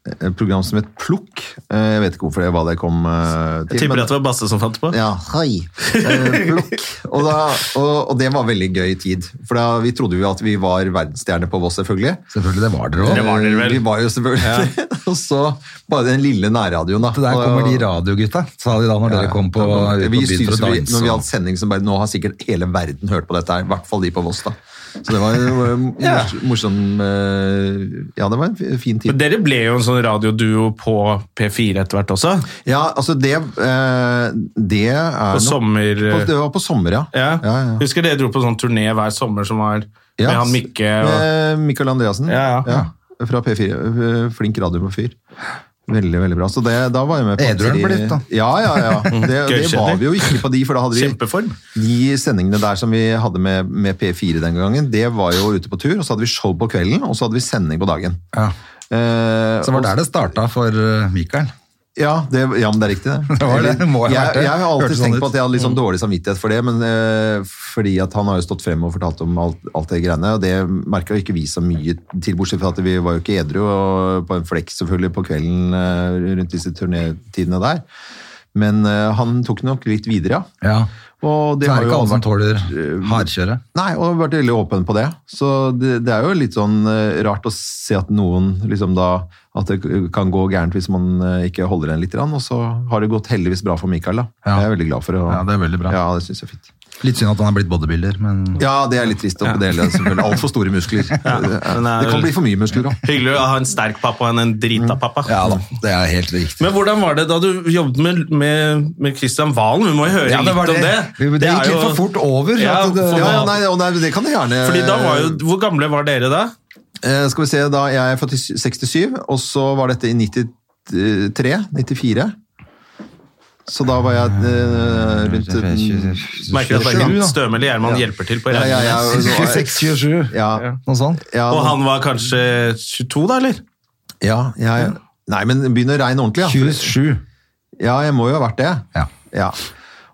eh, et program som het Plukk. Eh, Jeg vet ikke hvorfor det, hva det kom eh, til.
Jeg
men-
tipper at det var Basse som fant på.
Ja, hei. Eh, Blokk. Og, da, og, og det var veldig gøy tid. For da, vi trodde jo at vi var verdensstjerne på Voss, selvfølgelig. Eh,
Selvfølgelig, det var dere òg.
Det var dere vel.
Vi var jo selvfølgelig Og så bare den lille nærradioen, da.
Der
Og-
kommer de radiogutta, sa de da når dere kom på,
Ja,
ut på
vi
byen
syntes
for å
vi,
danse.
når vi
og-
hadde sending, så bare Nå har sikkert hele verden hørt på dette her. I hvert fall de på Voss, da. Så det var jo eh, mors,
Ja.
morsom eh, Ja, det var en fi- fin tid.
Men dere ble jo en sånn radioduo på P4 etter hvert også.
Ja, altså, det eh, Det er
På sommer... eh,
på, Det var på sommer, ja.
Ja.
ja, ja.
Husker dere dro på sånn turné hver sommer som var med han Mikke og
med Mikael Andreassen.
Ja, ja.
Fra P4. eh, Flink radiofyr. Veldig, veldig bra. Så det, da var jeg med på
Edru er
tre-
blitt, da.
Ja, ja, ja. Det, det var vi jo ikke på de, for da hadde vi
Kjempeform.
de sendingene der som vi hadde med, med P4 den gangen, det var jo ute på tur, og så hadde vi show på kvelden, og så hadde vi sending på dagen.
Ja.
Eh,
Så var det der det starta for eh, Mikael.
Ja, det, ja, men det er riktig, det.
Det var det. Det må ha vært
jeg,
det.
jeg, har alltid
Hørtes sånn
tenkt
ut.
på at jeg hadde litt sånn dårlig samvittighet for det, men eh, fordi at han har jo stått frem og fortalt om alt, alt det greiene, og det merka jo ikke vi så mye til, bortsett fra at vi var jo ikke edru og på en flekk selvfølgelig på kvelden eh, rundt disse turnétidene der. Men eh, han tok det nok litt videre, ja.
Ja.
Og
Det
det
er
har
ikke
jo
alle som
vært eh,
tåler hardkjøret.
Nei, og har vært veldig åpen på det. Så det, det er jo litt sånn eh, rart å se at noen liksom da At det kan gå gærent hvis man eh, ikke holder igjen litt. grann, Og så har det gått heldigvis bra for Mikael, da.
Ja.
Jeg er veldig glad for å-
Ja, det er veldig bra.
Ja, det synes jeg er fint.
Litt synd at han har blitt bodybuilder, men
Ja, det er litt trist å dele, selvfølgelig. Altfor store muskler. Det,
men det er
kan
vel-
bli for mye muskler òg.
Hyggelig å ha en sterk pappa enn en drita
Mm.
pappa.
Ja da, det er helt riktig.
Men hvordan var det da du jobbet med, med, med Christian Valen? Vi må jo høre
Ja, det var
litt om det.
det. Det
er
gikk litt for fort over,
Ja,
at det-
for
Ja, ja,
Valen-
nei, og nei, det kan du gjerne
Fordi da var jo, Hvor gamle var dere da?
Eh, Skal vi se, da jeg er født i 67, og så var dette i 93, 94. Så da var jeg eh, rundt
Merker at
Sju,
verken
da.
Støme eller Gjerman hjelper til. på
Ja, ja, ja,
regningen.
26-27,
Ja,
noe sånt.
ja,
Og han var kanskje 22 da, eller?
ja, jeg, Nei, men begynn å regne ordentlig. Ja.
27.
ja, jeg må jo ha vært det.
Ja.
Ja.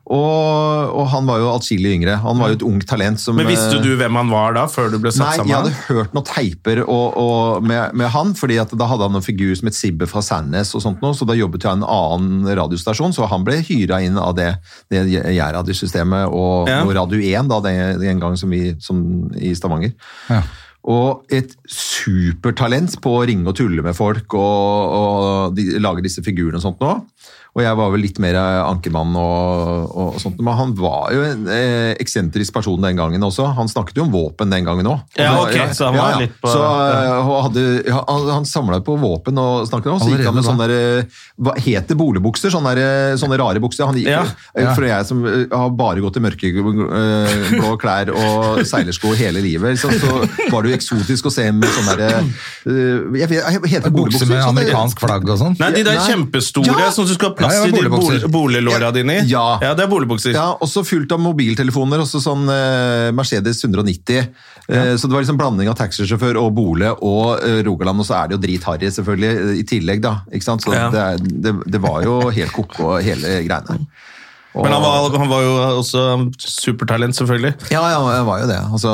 Og, og han var jo atskillig yngre. Han var jo et ungt talent som
Men visste
eh,
du hvem han var da, før du ble satt
Nei, jeg
sammen?
hadde hørt noen teiper og, og med, med han, fordi at da hadde han en figur som het Sibbe fra Sandnes og sånt noe, så da jobbet jeg i en annen radiostasjon, så han ble hyra inn av det, det Gjærradiosystemet og,
Ja.
og Radio 1 da, den, den gang som vi, som, i Stavanger. Og et supertalent på å ringe og tulle med folk og, og de, lage disse figurene og sånt nå. Og jeg var vel litt mer ankermann og, og sånt, men han var jo en eh, eksentrisk person den gangen også. Han snakket jo om våpen den gangen òg.
Ja, ok, så han var litt på-
Så, eh, og hadde, ja, han, han samla på våpen og snakket om, så gikk han med sånne
Allerede
der, eh, hva heter boligbukser? Sånne, der, eh, sånne rare bukser. Han gikk,
Ja,
eh, For jeg som eh, har bare gått i mørkeblå klær og seilersko hele livet, så, så var det jo eksotisk å se med sånne der, eh, jeg, vet- jeg heter
Bukse
boligbukser.
med
sånne-
amerikansk flagg og sånn.
Nei, de der
Nei.
kjempestore
Ja.
som du skal ha plass
Ja, ja,
i de
boligbukser.
bol- boliglåra dine i.
Ja.
ja, det er boligbukser.
Ja, også fullt av mobiltelefoner, også sånn eh, Mercedes 190. Eh, så det var liksom blanding av taxisjåfør og Bole og eh, Rogaland, og så er det jo dritharry selvfølgelig eh, i tillegg, da. Ikke sant? Så
Ja.
det, er- det, det var jo helt koko, hele greiene. Og-
Men han var, han var jo også supertalent, selvfølgelig.
ja, ja, jeg var jo det. Altså,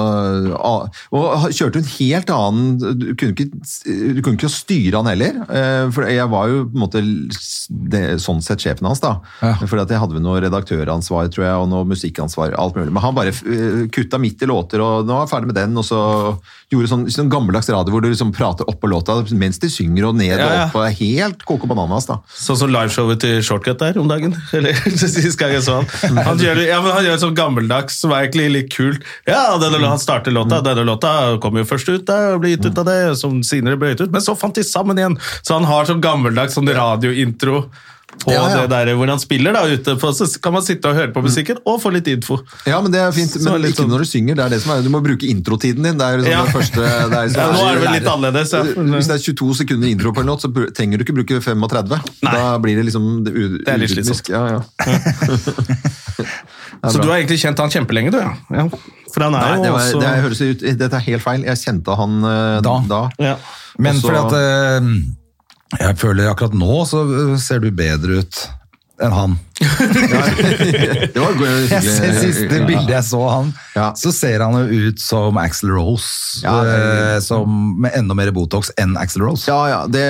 a- og kjørte en helt annen Du kunne ikke, du kunne ikke styre han heller. eh, For jeg var jo på en måte s- det, sånn sett sjefen hans, da. For at jeg hadde vel noe redaktøransvar tror jeg, og noe musikkansvar. alt mulig. Men han bare eh, kutta midt i låter, og nå er jeg ferdig med den. Og så gjorde sånn, sånn gammeldags radio hvor du liksom prater oppå låta mens de synger, og ned
Ja, ja.
og opp. og Helt coco bananas, da.
Sånn som liveshowet til Shortcut der om dagen. Eller sist gang jeg så han. Han gjør, ja, men han gjør sånn gammeldags, som er egentlig litt kult. Ja, denne, lå- han starter låta,
Mm.
denne låta kom jo først ut, da, og ble gitt ut av det, som senere ble gitt ut, men så fant de sammen igjen. Så han har sånn gammeldags sånn radiointro på
Ja, ja.
det der hvor han spiller da ute, på, så kan man sitte og høre på musikken og få litt info.
Ja, men det er fint,
Så
men
litt
ikke
sånn-
når du synger. det er det som er, Du må bruke introtiden din. det er jo sånn
Ja.
det første... Det er
Ja,
sånn,
nå er det vel litt annerledes, ja.
Hvis det er 22 sekunder intro på en låt, så bur- trenger du ikke bruke 35.
Nei.
Da blir det liksom det u-
er litt
urytmisk. Ja, ja.
Så du har egentlig kjent han kjempelenge, du, ja. ja. For han er
Nei,
jo
det, var,
også
det høres ut, Dette er helt feil. Jeg kjente han eh, da.
Da.
ja.
Men
Også-
fordi at eh, jeg føler akkurat nå så eh, ser du bedre ut enn han. eh,
Det var go-
Jeg
hyggelig.
ser siste bildet jeg så han,
Ja.
så ser han jo ut som Axel Rose.
Ja, det er-
eh, som, med enda mer Botox enn Axel Rose.
Ja, ja, det,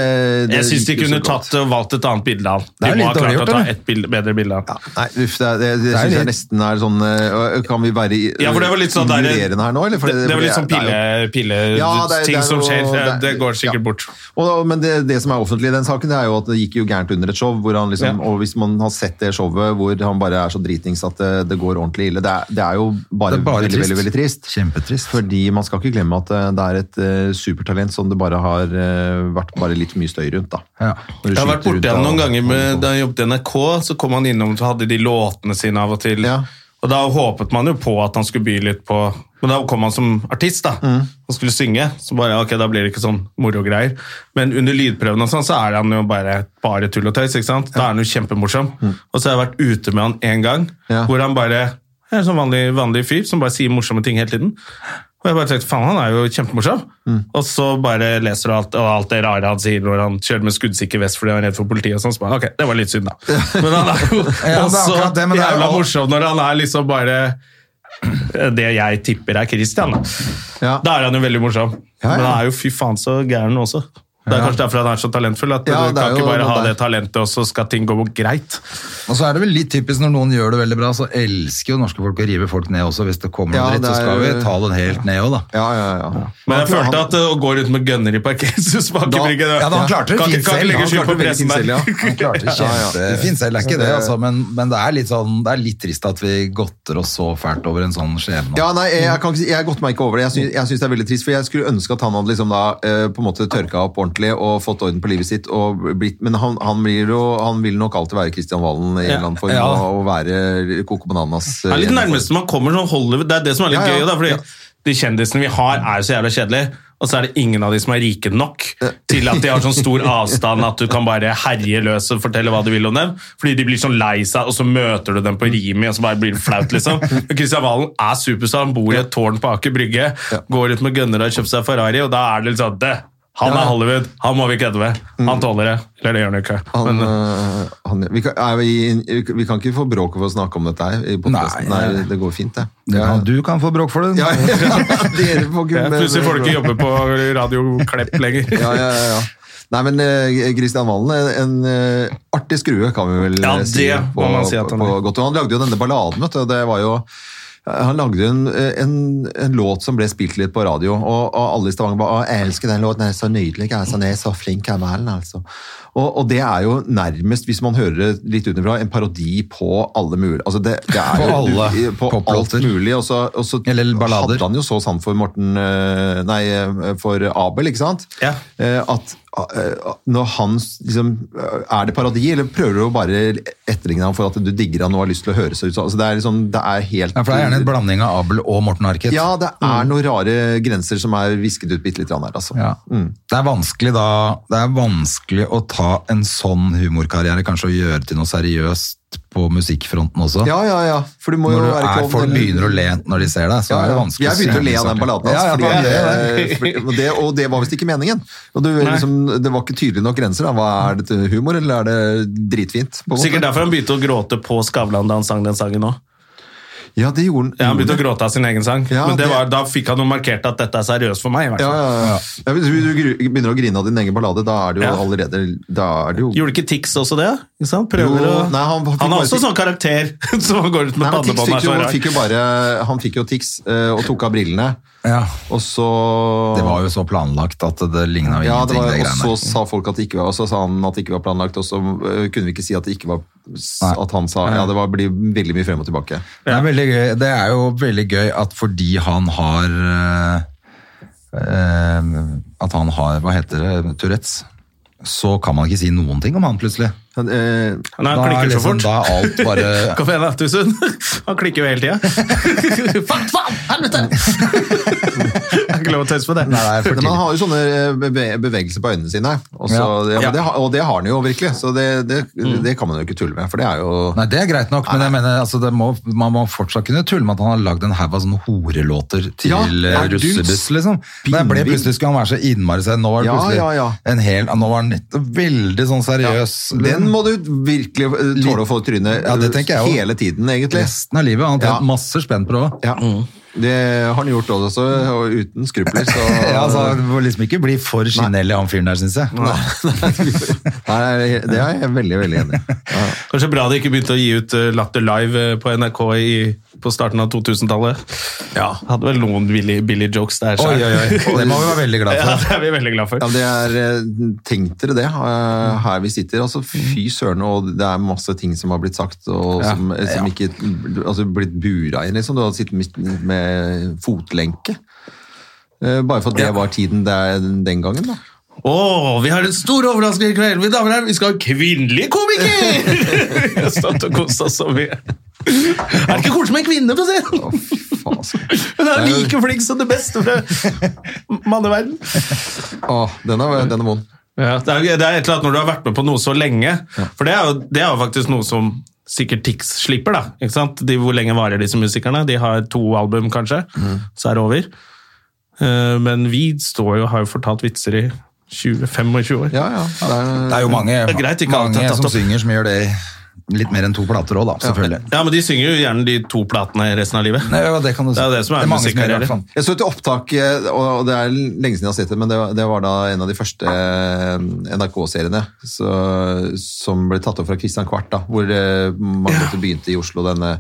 det
Jeg syns de
gikk jo
kunne
så godt.
tatt og valgt et annet bilde av han.
er
De må
litt
ha klart å ta
dårlig gjort, eller?
et bilde, bedre bilde av han.
Nei, uff, det, er- det, det, synes jeg
litt-
nesten er sånn eh, Kan vi være i-
Ja, for det var litt sånn der-
ignorerende her nå? Eller? For
Det, det var litt sånn
er jo-
pille, pille
Ja, det er-
ting
det er
som
noe-
skjer. Det,
det er-
det går sikkert
ja.
bort.
Og, men det, det som er offentlig i den saken, det er jo at det gikk jo gærent under et show. Hvor han liksom,
Ja.
Og hvis man har sett det showet hvor han bare er så dritings at det, det går ordentlig ille, det er, det er jo bare,
Det er bare
veldig,
trist.
veldig, veldig trist.
Kjempetrist.
Fordi man skal ikke glemme at eh, det er et eh, supertalent som det bare har eh, vært bare litt mye støy rundt. da.
Ja.
Når du
Jeg har vært
skyter rundt
borti han
av-
noen ganger med, da jeg jobbet i NRK. Så kom han innom og hadde de låtene sine av og til.
Ja.
Og da håpet man jo på at han skulle by litt på Men da kom han som artist, da.
Mm.
Han skulle synge. Så bare ok, da blir det ikke sånn moro-greier. Men under lydprøven og sånn, så er han jo bare, bare tull og tøys. ikke sant? Da er han jo kjempemorsom. Og så har jeg vært ute med han én gang,
Mm. Ja.
hvor han bare er en sånn vanlig, vanlig fyr som bare sier morsomme ting hele tiden. Og jeg bare tenkte, faen, han er jo kjempemorsom.
Mm.
Og så bare leser du alt, og alt det rare han sier når han kjører med skuddsikker vest fordi han er redd for politiet og sånn. Så bare, ok, det var litt synd da. Men han er jo
Ja, det er
også
akkurat det, men det er jo
jævla
alt-
morsom når han er liksom bare det jeg tipper er Christian. Da,
Ja.
da er han jo veldig morsom.
Ja, ja.
Men han er jo fy faen så gæren også. Det er kanskje derfor han er så talentfull. At
Ja,
du
det er
kan ikke
jo
bare ha
noe der.
det talentet, og så skal ting gå greit.
Og så er det vel litt typisk når noen gjør det veldig bra, så elsker jo norske folk å rive folk ned også. Hvis det kommer noe
Ja,
dritt,
det
så
er-
skal vi ta den helt ned òg, da.
Ja, ja, ja.
Men jeg
Han-
følte at uh, å gå rundt med gønner i parkeringshus bak i
Da-
bryggen
Ja, da han klarte det
Kan
fint
ikke- kan ikke
selv.
legge
Han
skyld
klarte
på
det veldig
pressen
fint
der.
selv, ja. Han klarte det
Ja, ja.
kjempefint selv, det er ikke det, altså. Men, men det er litt sånn, det er litt trist at vi godter oss så fælt over en sånn skjebne.
Ja, nei, jeg, jeg, kan ikke, si- jeg gått meg ikke over det. Jeg syns, jeg syns det er veldig trist, for jeg skulle ønske at han hadde liksom da, eh, på en måte tørka opp ordentlig og fått orden på livet sitt. Og blitt, men han, han, blir jo, han vil nok alltid være Kristian Valen i en
Ja.
eller annen form,
Ja.
og, og være Coco Bananas.
Det er litt
eh,
nærmeste man kommer sånn Hollywood. Det er det som er litt
Ja, ja,
gøy. Da, fordi
ja.
De kjendisene vi har, er jo så jævla kjedelige. Og så er det ingen av de som er rike nok til at de har sånn stor avstand at du kan bare herje løs og fortelle hva du vil om dem. Fordi de blir sånn lei seg, og så møter du dem på Rimi, og så bare blir det flaut, liksom. Men Christian Valen er superstar, han bor i et tårn på Aker Brygge, går ut med gønnere og har kjøpt seg Ferrari, og da er det litt sånn det. Han er Hollywood, han må vi kødde med. Han tåler det. Eller det gjør han jo ikke.
Mm. Han,
Men,
eh, han, vi, kan, er vi, vi kan ikke få bråk for å snakke om dette her i podcasten.
Nei,
Nei,
nei.
det går fint, det.
Ja, du kan få bråk for det.
Ja, dere får ikke
ja, plutselig får du ikke jobbe på Radio Klepp lenger.
eh, Ja, ja, ja, ja. Nei, men eh, Kristian Valen, eh, en eh, artig skrue kan vi vel
Ja,
eh, si,
det må
på,
man si at han
på
er.
godt. Og han lagde jo denne balladen, vet du. og Det var jo, eh, han lagde jo en, en, en låt som ble spilt litt på radio, og, og alle i Stavanger bare «Å, 'Jeg elsker den låten, den er så nydelig, altså, den er så flink, han Valen', altså. Og, og det er jo nærmest, hvis man hører det litt utenfra, en parodi på alle mulige altså det, det er
På
jo,
alle
på alt
poplåter.
mulig. Og så, og så
Eller ballader.
hadde han jo så sant for Morten eh, Nei, eh, for Abel, ikke sant?
Ja.
Eh, At eh, når han s- liksom eh, Er det parodi, eller prøver du å bare etterligne ham for at du digger han og har lyst til å høre seg ut? sånn? Altså, det er liksom, det er
Ja,
helt
for det er gjerne en blanding av Abel og Morten Harket.
Ja, det er noen rare grenser som er visket ut bitte litt her, altså.
Ja. Det er vanskelig da Det er vanskelig å ta en sånn humorkarriere Kanskje å gjøre til noe seriøst På musikkfronten også
Ja, ja, ja. For du må
Når
jo
du
være
er,
klovn,
folk
eller-
begynner å le når de ser deg Så
Ja,
er det
ja.
vanskelig å
Jeg begynte å
synge
le av den
saker.
balladen hans,
ja, ja,
fordi,
det,
eh, fordi, og, det, og det var visst ikke meningen. Og det, liksom, det var ikke tydelig nok grenser. Da. Hva Er det til humor, eller er det dritfint? på en måte?
Sikkert derfor han begynte å gråte på Skavlan da han sang den sangen òg.
Ja, det gjorde
Ja, han begynte å gråte av sin egen sang.
Ja,
men det
det-
var, da fikk han jo markert at dette er seriøst for meg. i hvert
Ja,
fall.
ja, ja. Ja, Hvis du gru- begynner å grine av din egen ballade, da er det jo
Ja.
allerede da er det jo...
Gjorde ikke Tix også det? Ikke sant? Prøver
Jo,
å...
nei, han fikk
har
bare
også
fikk-
sånn karakter som han går ut med
Nei, men Tix
pannebånd.
fikk
er så
jo,
rar.
fikk jo bare, han fikk jo tics eh, og tok av brillene,
ja.
og så...
det var jo så planlagt at det lignet jo
Ja, det
ingenting
var,
det
og
greiene
så
der.
sa folk at det ikke var, og så sa han at det ikke var planlagt, og så øh, kunne vi ikke si at det ikke var s-
Nei.
At han sa Ja, det var, blir veldig mye frem og tilbake.
Det er, veldig gøy. det er jo veldig gøy at fordi han har eh, eh, At han har, hva heter det, Tourettes, så kan man ikke si noen ting om han plutselig.
Men, eh,
Nei, han
Da er
klikker så
liksom-
fort.
Da er alt bare
Kom igjen, da, Tusen. Han klikker jo hele tida. Faen, faen, helvete! Det er ikke lov å tøyse på det.
Nei, det er for
men han
tidlig.
har jo sånne eh, beve- bevegelser på øynene sine, og, så,
Ja.
det,
Ja.
og, det, har- og det har han jo virkelig, så det, det, det kan man jo ikke tulle med, for det er jo
Nei, det er greit nok, men jeg mener, altså, det må, man må fortsatt kunne tulle med at han har lagd en haug av sånne horelåter til
Ja,
eh,
er du
russebuss, liksom. Men jeg ble
spinnvill?
plutselig skulle han være så innmari seg, nå var det
Ja,
plutselig
ja, ja.
en hel Nå var han litt- veldig sånn seriøs.
Den må du virkelig eh, tåle å få i trynet
Ja, det tenker jeg
eh,
også.
hele tiden, egentlig.
Resten av livet. Han har
Ja.
tjent masse spenn på det òg.
Ja. Det har han gjort også, og uten skrupler, så
Ja, altså, det må liksom ikke bli for skinnhellig, han fyren der, syns jeg.
Nei, Det er jeg veldig, veldig enig i. Ja.
Kanskje bra de ikke begynte å gi ut eh, Latter Live eh, på NRK i, på starten av 2000-tallet. Ja. Hadde vel noen billy, billy jokes der.
Oi,
selv.
oi, oi. Det altså. må vi være veldig glad
Ja,
for.
det er vi veldig glad for.
Ja, det er, eh, Tenk dere det, eh, her vi sitter. altså Fy søren, og det er masse ting som har blitt sagt, og som, eh, som ikke altså, blitt bura inn. liksom. Du har sittet med- med fotlenke. Eh, Bare for at det var tiden der, den gangen, da.
Åh, vi har en stor overraskelse i kveld, mine damer og herrer. Vi skal ha kvinnelige komikere! Vi har stått og kost oss så mye. Er det ikke koselig med en kvinne, for å si det sånn?
Faen,
altså.
skal-
Hun er like flink som det beste fra manneverden.
Åh, den er, den er vond.
Ja, det, er, det er et eller annet når du har vært med på noe så lenge. For det er jo, det er jo faktisk noe som sikkert Tix slipper. da, ikke sant? De, hvor lenge varer disse musikerne? De har to album, kanskje,
Mm.
så er det over. Eh, men vi står jo, har jo fortalt vitser i 20, 25 år.
Ja, ja. Det
Det er jo mange,
Det er greit, ikke alt er
mange
tatt
som
opp.
synger som gjør det i litt mer enn to plater òg, da. Selvfølgelig.
Ja, men de synger jo gjerne de to platene resten av livet.
Nei, ja, det kan du si.
Det er jo det som er
mange gjør det, i
musikkarriere.
hvert fall.
Jeg så et opptak, eh, og det er lenge siden jeg har sett det, men det var, det var da en av de første eh, NRK-seriene så- som ble tatt opp fra Christian Kvart, da, hvor eh, man måtte begynte i Oslo denne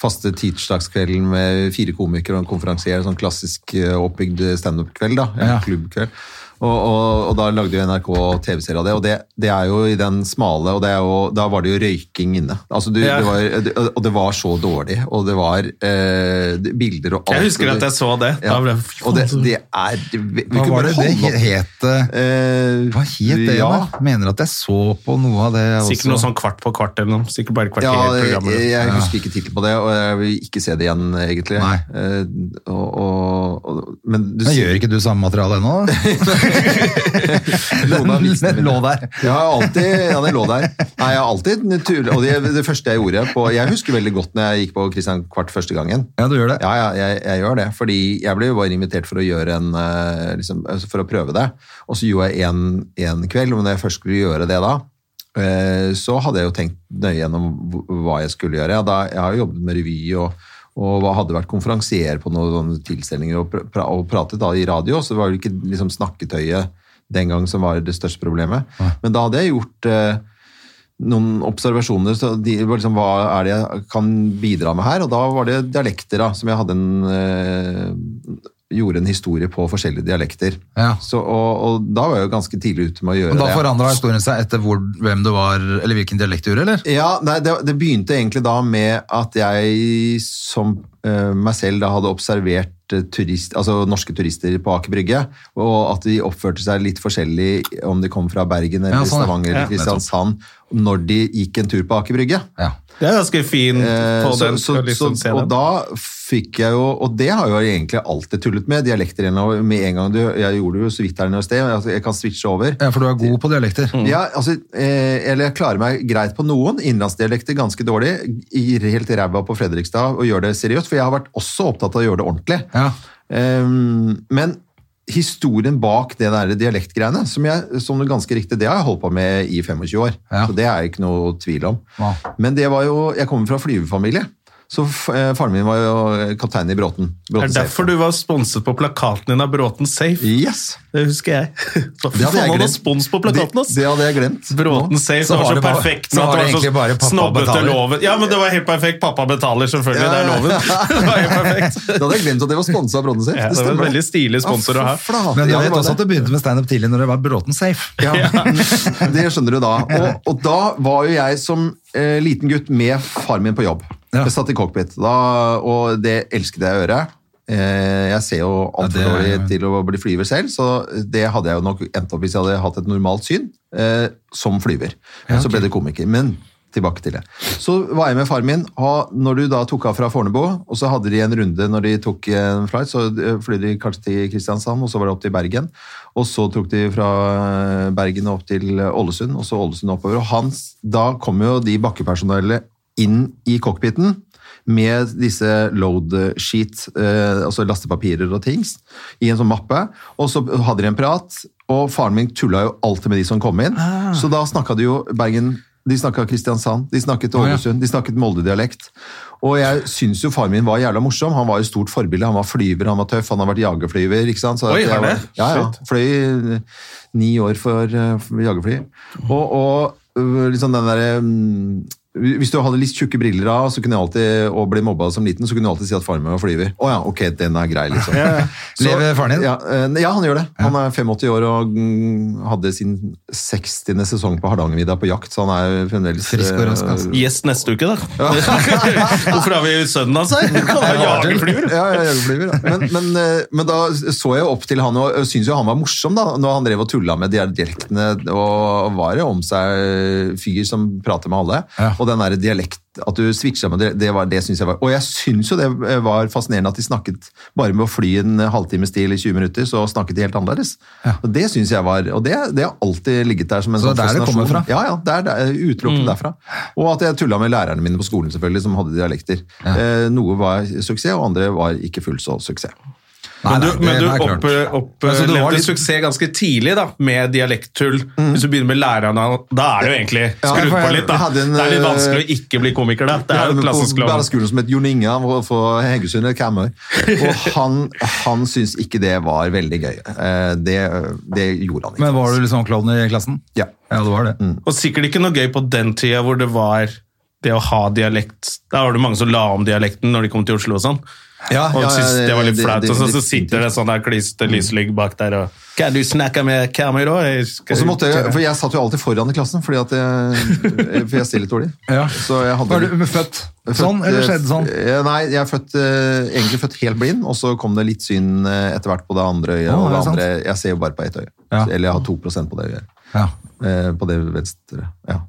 faste tirsdagskvelden med fire komikere og en konferansier, sånn klassisk eh, oppbygd stand-up-kveld, da, en
Ja.
klubbkveld. Og, og, og da lagde jo NRK TV-serie av det, og det, det er jo i den smale, og det er jo, da var det jo røyking inne. Altså, du,
Ja.
det var, og det var så dårlig, og det var eh, bilder og alt.
Jeg husker at jeg så det.
Ja.
Da ble jeg, fy faen,
Og det,
så-
det er vi, vi
Hva var
kunne bare
det det
holde opp.
het? eh,
Eh,
Hva het det?
Ja,
da? Mener at jeg så på noe av det
Sikkert
også.
noe sånn kvart på kvart eller noe. Sikkert bare
ja
kvarterprogrammer.
jeg,
Ja,
jeg husker ikke tittelen på det, og jeg vil ikke se det igjen, egentlig.
Nei.
Eh, og, og, og, men du
Men
sier-
gjør ikke du samme materiale ennå?
Noen av vitsene
Den
mine.
lå der.
Ja, jeg har alltid, ja, den lå der. Nei, jeg har alltid tull, og det, det første jeg gjorde på, Jeg husker veldig godt når jeg gikk på Christian Kvart første gangen.
Ja, du gjør det.
Ja, ja jeg, jeg gjør det. Fordi jeg ble jo bare invitert for å gjøre en eh, liksom, altså for å prøve det. Og så gjorde jeg en, en kveld, men når jeg først skulle gjøre det da, eh, så hadde jeg jo tenkt nøye gjennom hv- hva jeg skulle gjøre. Da, jeg har jo jobbet med revy og, og hva- hadde vært konferansier på noen sånne tilstelninger og, pr- pra, og pratet da i radio, så det var jo ikke liksom snakketøyet den gang som var det største problemet. Men da hadde jeg gjort eh, noen observasjoner. Så de, var liksom, hva er det jeg kan bidra med her? Og da var det dialekter, da, som jeg hadde en eh, Gjorde en historie på forskjellige dialekter.
Ja.
Så, og, og da var jeg jo ganske tidlig ute med å gjøre
Og da
det.
forandra historien seg etter hvor, hvem du var, eller hvilken dialekt du gjorde, eller?
Ja, nei, det, det begynte egentlig da med at jeg som eh, meg selv da hadde observert eh, turist, altså norske turister på Aker Brygge, og at de oppførte seg litt forskjellig om de kom fra Bergen
Ja,
eller
sånn, ja.
Stavanger eller
Ja,
Kristiansand, når de gikk en tur på Aker Brygge.
Ja.
Det er ganske fin
Eh,
på
så,
den.
så,
skal liksom se
så, og
den.
da fikk jeg jo Og det har jeg jo egentlig alltid tullet med, dialekter igjen, og med en gang du Jeg gjorde det jo så vidt her nede et sted, altså, jeg kan switche over.
ja, for du er god på dialekter.
Ja, altså, eh, eller jeg klarer meg greit på noen, innlandsdialekter ganske dårlig, gir helt ræva på Fredrikstad og gjør det seriøst, for jeg har vært også opptatt av å gjøre det ordentlig.
Ja.
Ehm, men historien bak det der dialektgreiene, som, jeg, som du ganske riktig, det har jeg holdt på med i 25 år,
Ja.
så det er jeg ikke noe tvil om.
Ja.
Men det var jo, jeg kommer fra flyvefamilie, så f- eh, faren min var jo kaptein i Bråten.
er det derfor du var sponset på plakaten din av Bråten Safe?
Yes!
Det husker jeg. Så,
Det hadde jeg
han hadde
glemt.
spons på plakaten, ass!
Det, det hadde jeg glemt.
Bråten Safe
Så
var
var
så
det bare-
perfekt.
så
at
var det
så
egentlig bare pappa
snobbete
betaler.
loven. Ja, men det var helt perfekt. Pappa betaler, selvfølgelig. Det er loven. Det var helt perfekt.
Da hadde jeg glemt at det var sponset av Bråten sin.
Ja, det var en veldig stilig sponsor å ha.
Men du
ja, det
vet
var
også at
det.
du begynte med standup tidlig når det var Bråten safe.
Ja, det skjønner du da. Og, og da var jo jeg som eh, liten gutt med far min på jobb.
Ja.
Jeg satt i cockpit, da, og det elsket jeg å gjøre. Eh, jeg ser jo
Ja,
altfor
det er-
dårlig til å bli flyver selv, så det hadde jeg jo nok endt opp hvis jeg hadde hatt et normalt syn eh, som flyver. Men så ble det komiker. Men tilbake til det. Så var jeg med far min, og når du da tok av fra Fornebu, og så hadde de en runde når de tok en flight, så eh, fløy de kanskje til Kristiansand, og så var det opp til Bergen, og så tok de fra eh, Bergen opp til Ålesund, og så Ålesund oppover, og hans, da kom jo de bakkepersonellet inn i cockpiten, med disse load sheet, eh, altså lastepapirer og things, i en sånn mappe, og så hadde de en prat, og faren min tullet jo alltid med de som kom inn,
Ah.
så da snakket de jo Bergen, de snakket Kristiansand, de snakket Ålesund, de snakket Molde-dialekt, og jeg synes jo faren min var jævla morsom, han var jo stort forbilde, han var flyver, han var tøff, han har vært jagerflyver, ikke sant? Så
Oi,
at jeg
var det?
Ja, ja, fløy eh, ni år for, eh, for jagerfly, og, og øh, liksom den der... mm, hvis du hadde litt tjukke briller av, så kunne jeg alltid, og ble mobba som liten, så kunne jeg alltid si at faren min var flyver. Å ja, ok, den er grei, liksom. Så-
Lever faren din?
Ja, eh, ja, han gjør det. Han er 85 år og mm, hadde sin 60. sesong på Hardangervidda på jakt, så han er jo fremdeles
Frisk og
eh,
rask, altså.
Gjest neste uke, da. Hvorfor har vi sønnen hans her? Han er jagerflyver.
Ja, ja, jagerflyver, ja. Men, men, eh, men da så jeg opp til han og syntes jo han var morsom da, når han drev og tulla med de her dialektene og var jo om seg eh, fyr som prater med alle.
Ja.
Og og den der dialekt, at du switcha med det, det, var- det syns jeg var Og jeg syns jo det eh, var fascinerende at de snakket bare med å fly en halvtimes til i 20 minutter, så snakket de helt annerledes. Og det syns jeg var Og det, det har alltid ligget der som en
Så det er der det
fascinasjon.
kommer fra? Mm.
Ja, ja. Det er der- eh, utelukkende derfra. Og at jeg tulla med lærerne mine på skolen, selvfølgelig, som hadde dialekter. Eh, noe var suksess, og andre var ikke fullt så suksess.
Nei,
Men du,
nei, det
men du
er klart.
opp, opp,
Men så det var
levde
litt- Mm.
suksess ganske tidlig da, med dialekttull. Hvis du begynner med lærerne, da er det jo egentlig skrudd
for
på
jeg
litt. da.
hadde en,
det er litt
eh,
vanskelig å ikke bli komiker. da. Det
Ja,
er
men
jo klassens
på
klovn.
barneskolen som het Jon Inga var fra Heggesund eller Kamøy. Og han, han syntes ikke det var veldig gøy. Eh, Det, det gjorde han ikke.
Men var du liksom klovn i klassen?
Ja.
Ja, Mm. du var det.
Og sikkert ikke noe gøy på den tida hvor det var det å ha dialekt. Da var det mange som la om dialekten når de kom til Oslo og sånn.
Ja,
Og
ja,
syntes det var litt
det-
flaut,
det- Mm.
og så, så
det-
sitter det sånn der kliste lyslygg bak der og Kan du snakke med kamera? Jeg skal-
Og så måtte jeg, for jeg satt jo alltid foran i klassen, fordi at jeg, for jeg stiller litt dårlig.
Ja.
Så jeg hadde...
Var du født sånn,
Født,
eller
eh,
skjedde sånn?
eh, Nei, jeg er født, eh, egentlig født helt blind, og så kom det litt syn eh, etter hvert på det andre øyet.
Å, er
og det
det sant?
andre, jeg ser jo bare på ett øye.
Ja.
Eller jeg har 2 på det øyet.
Ja.
Eh, på det venstre, ja.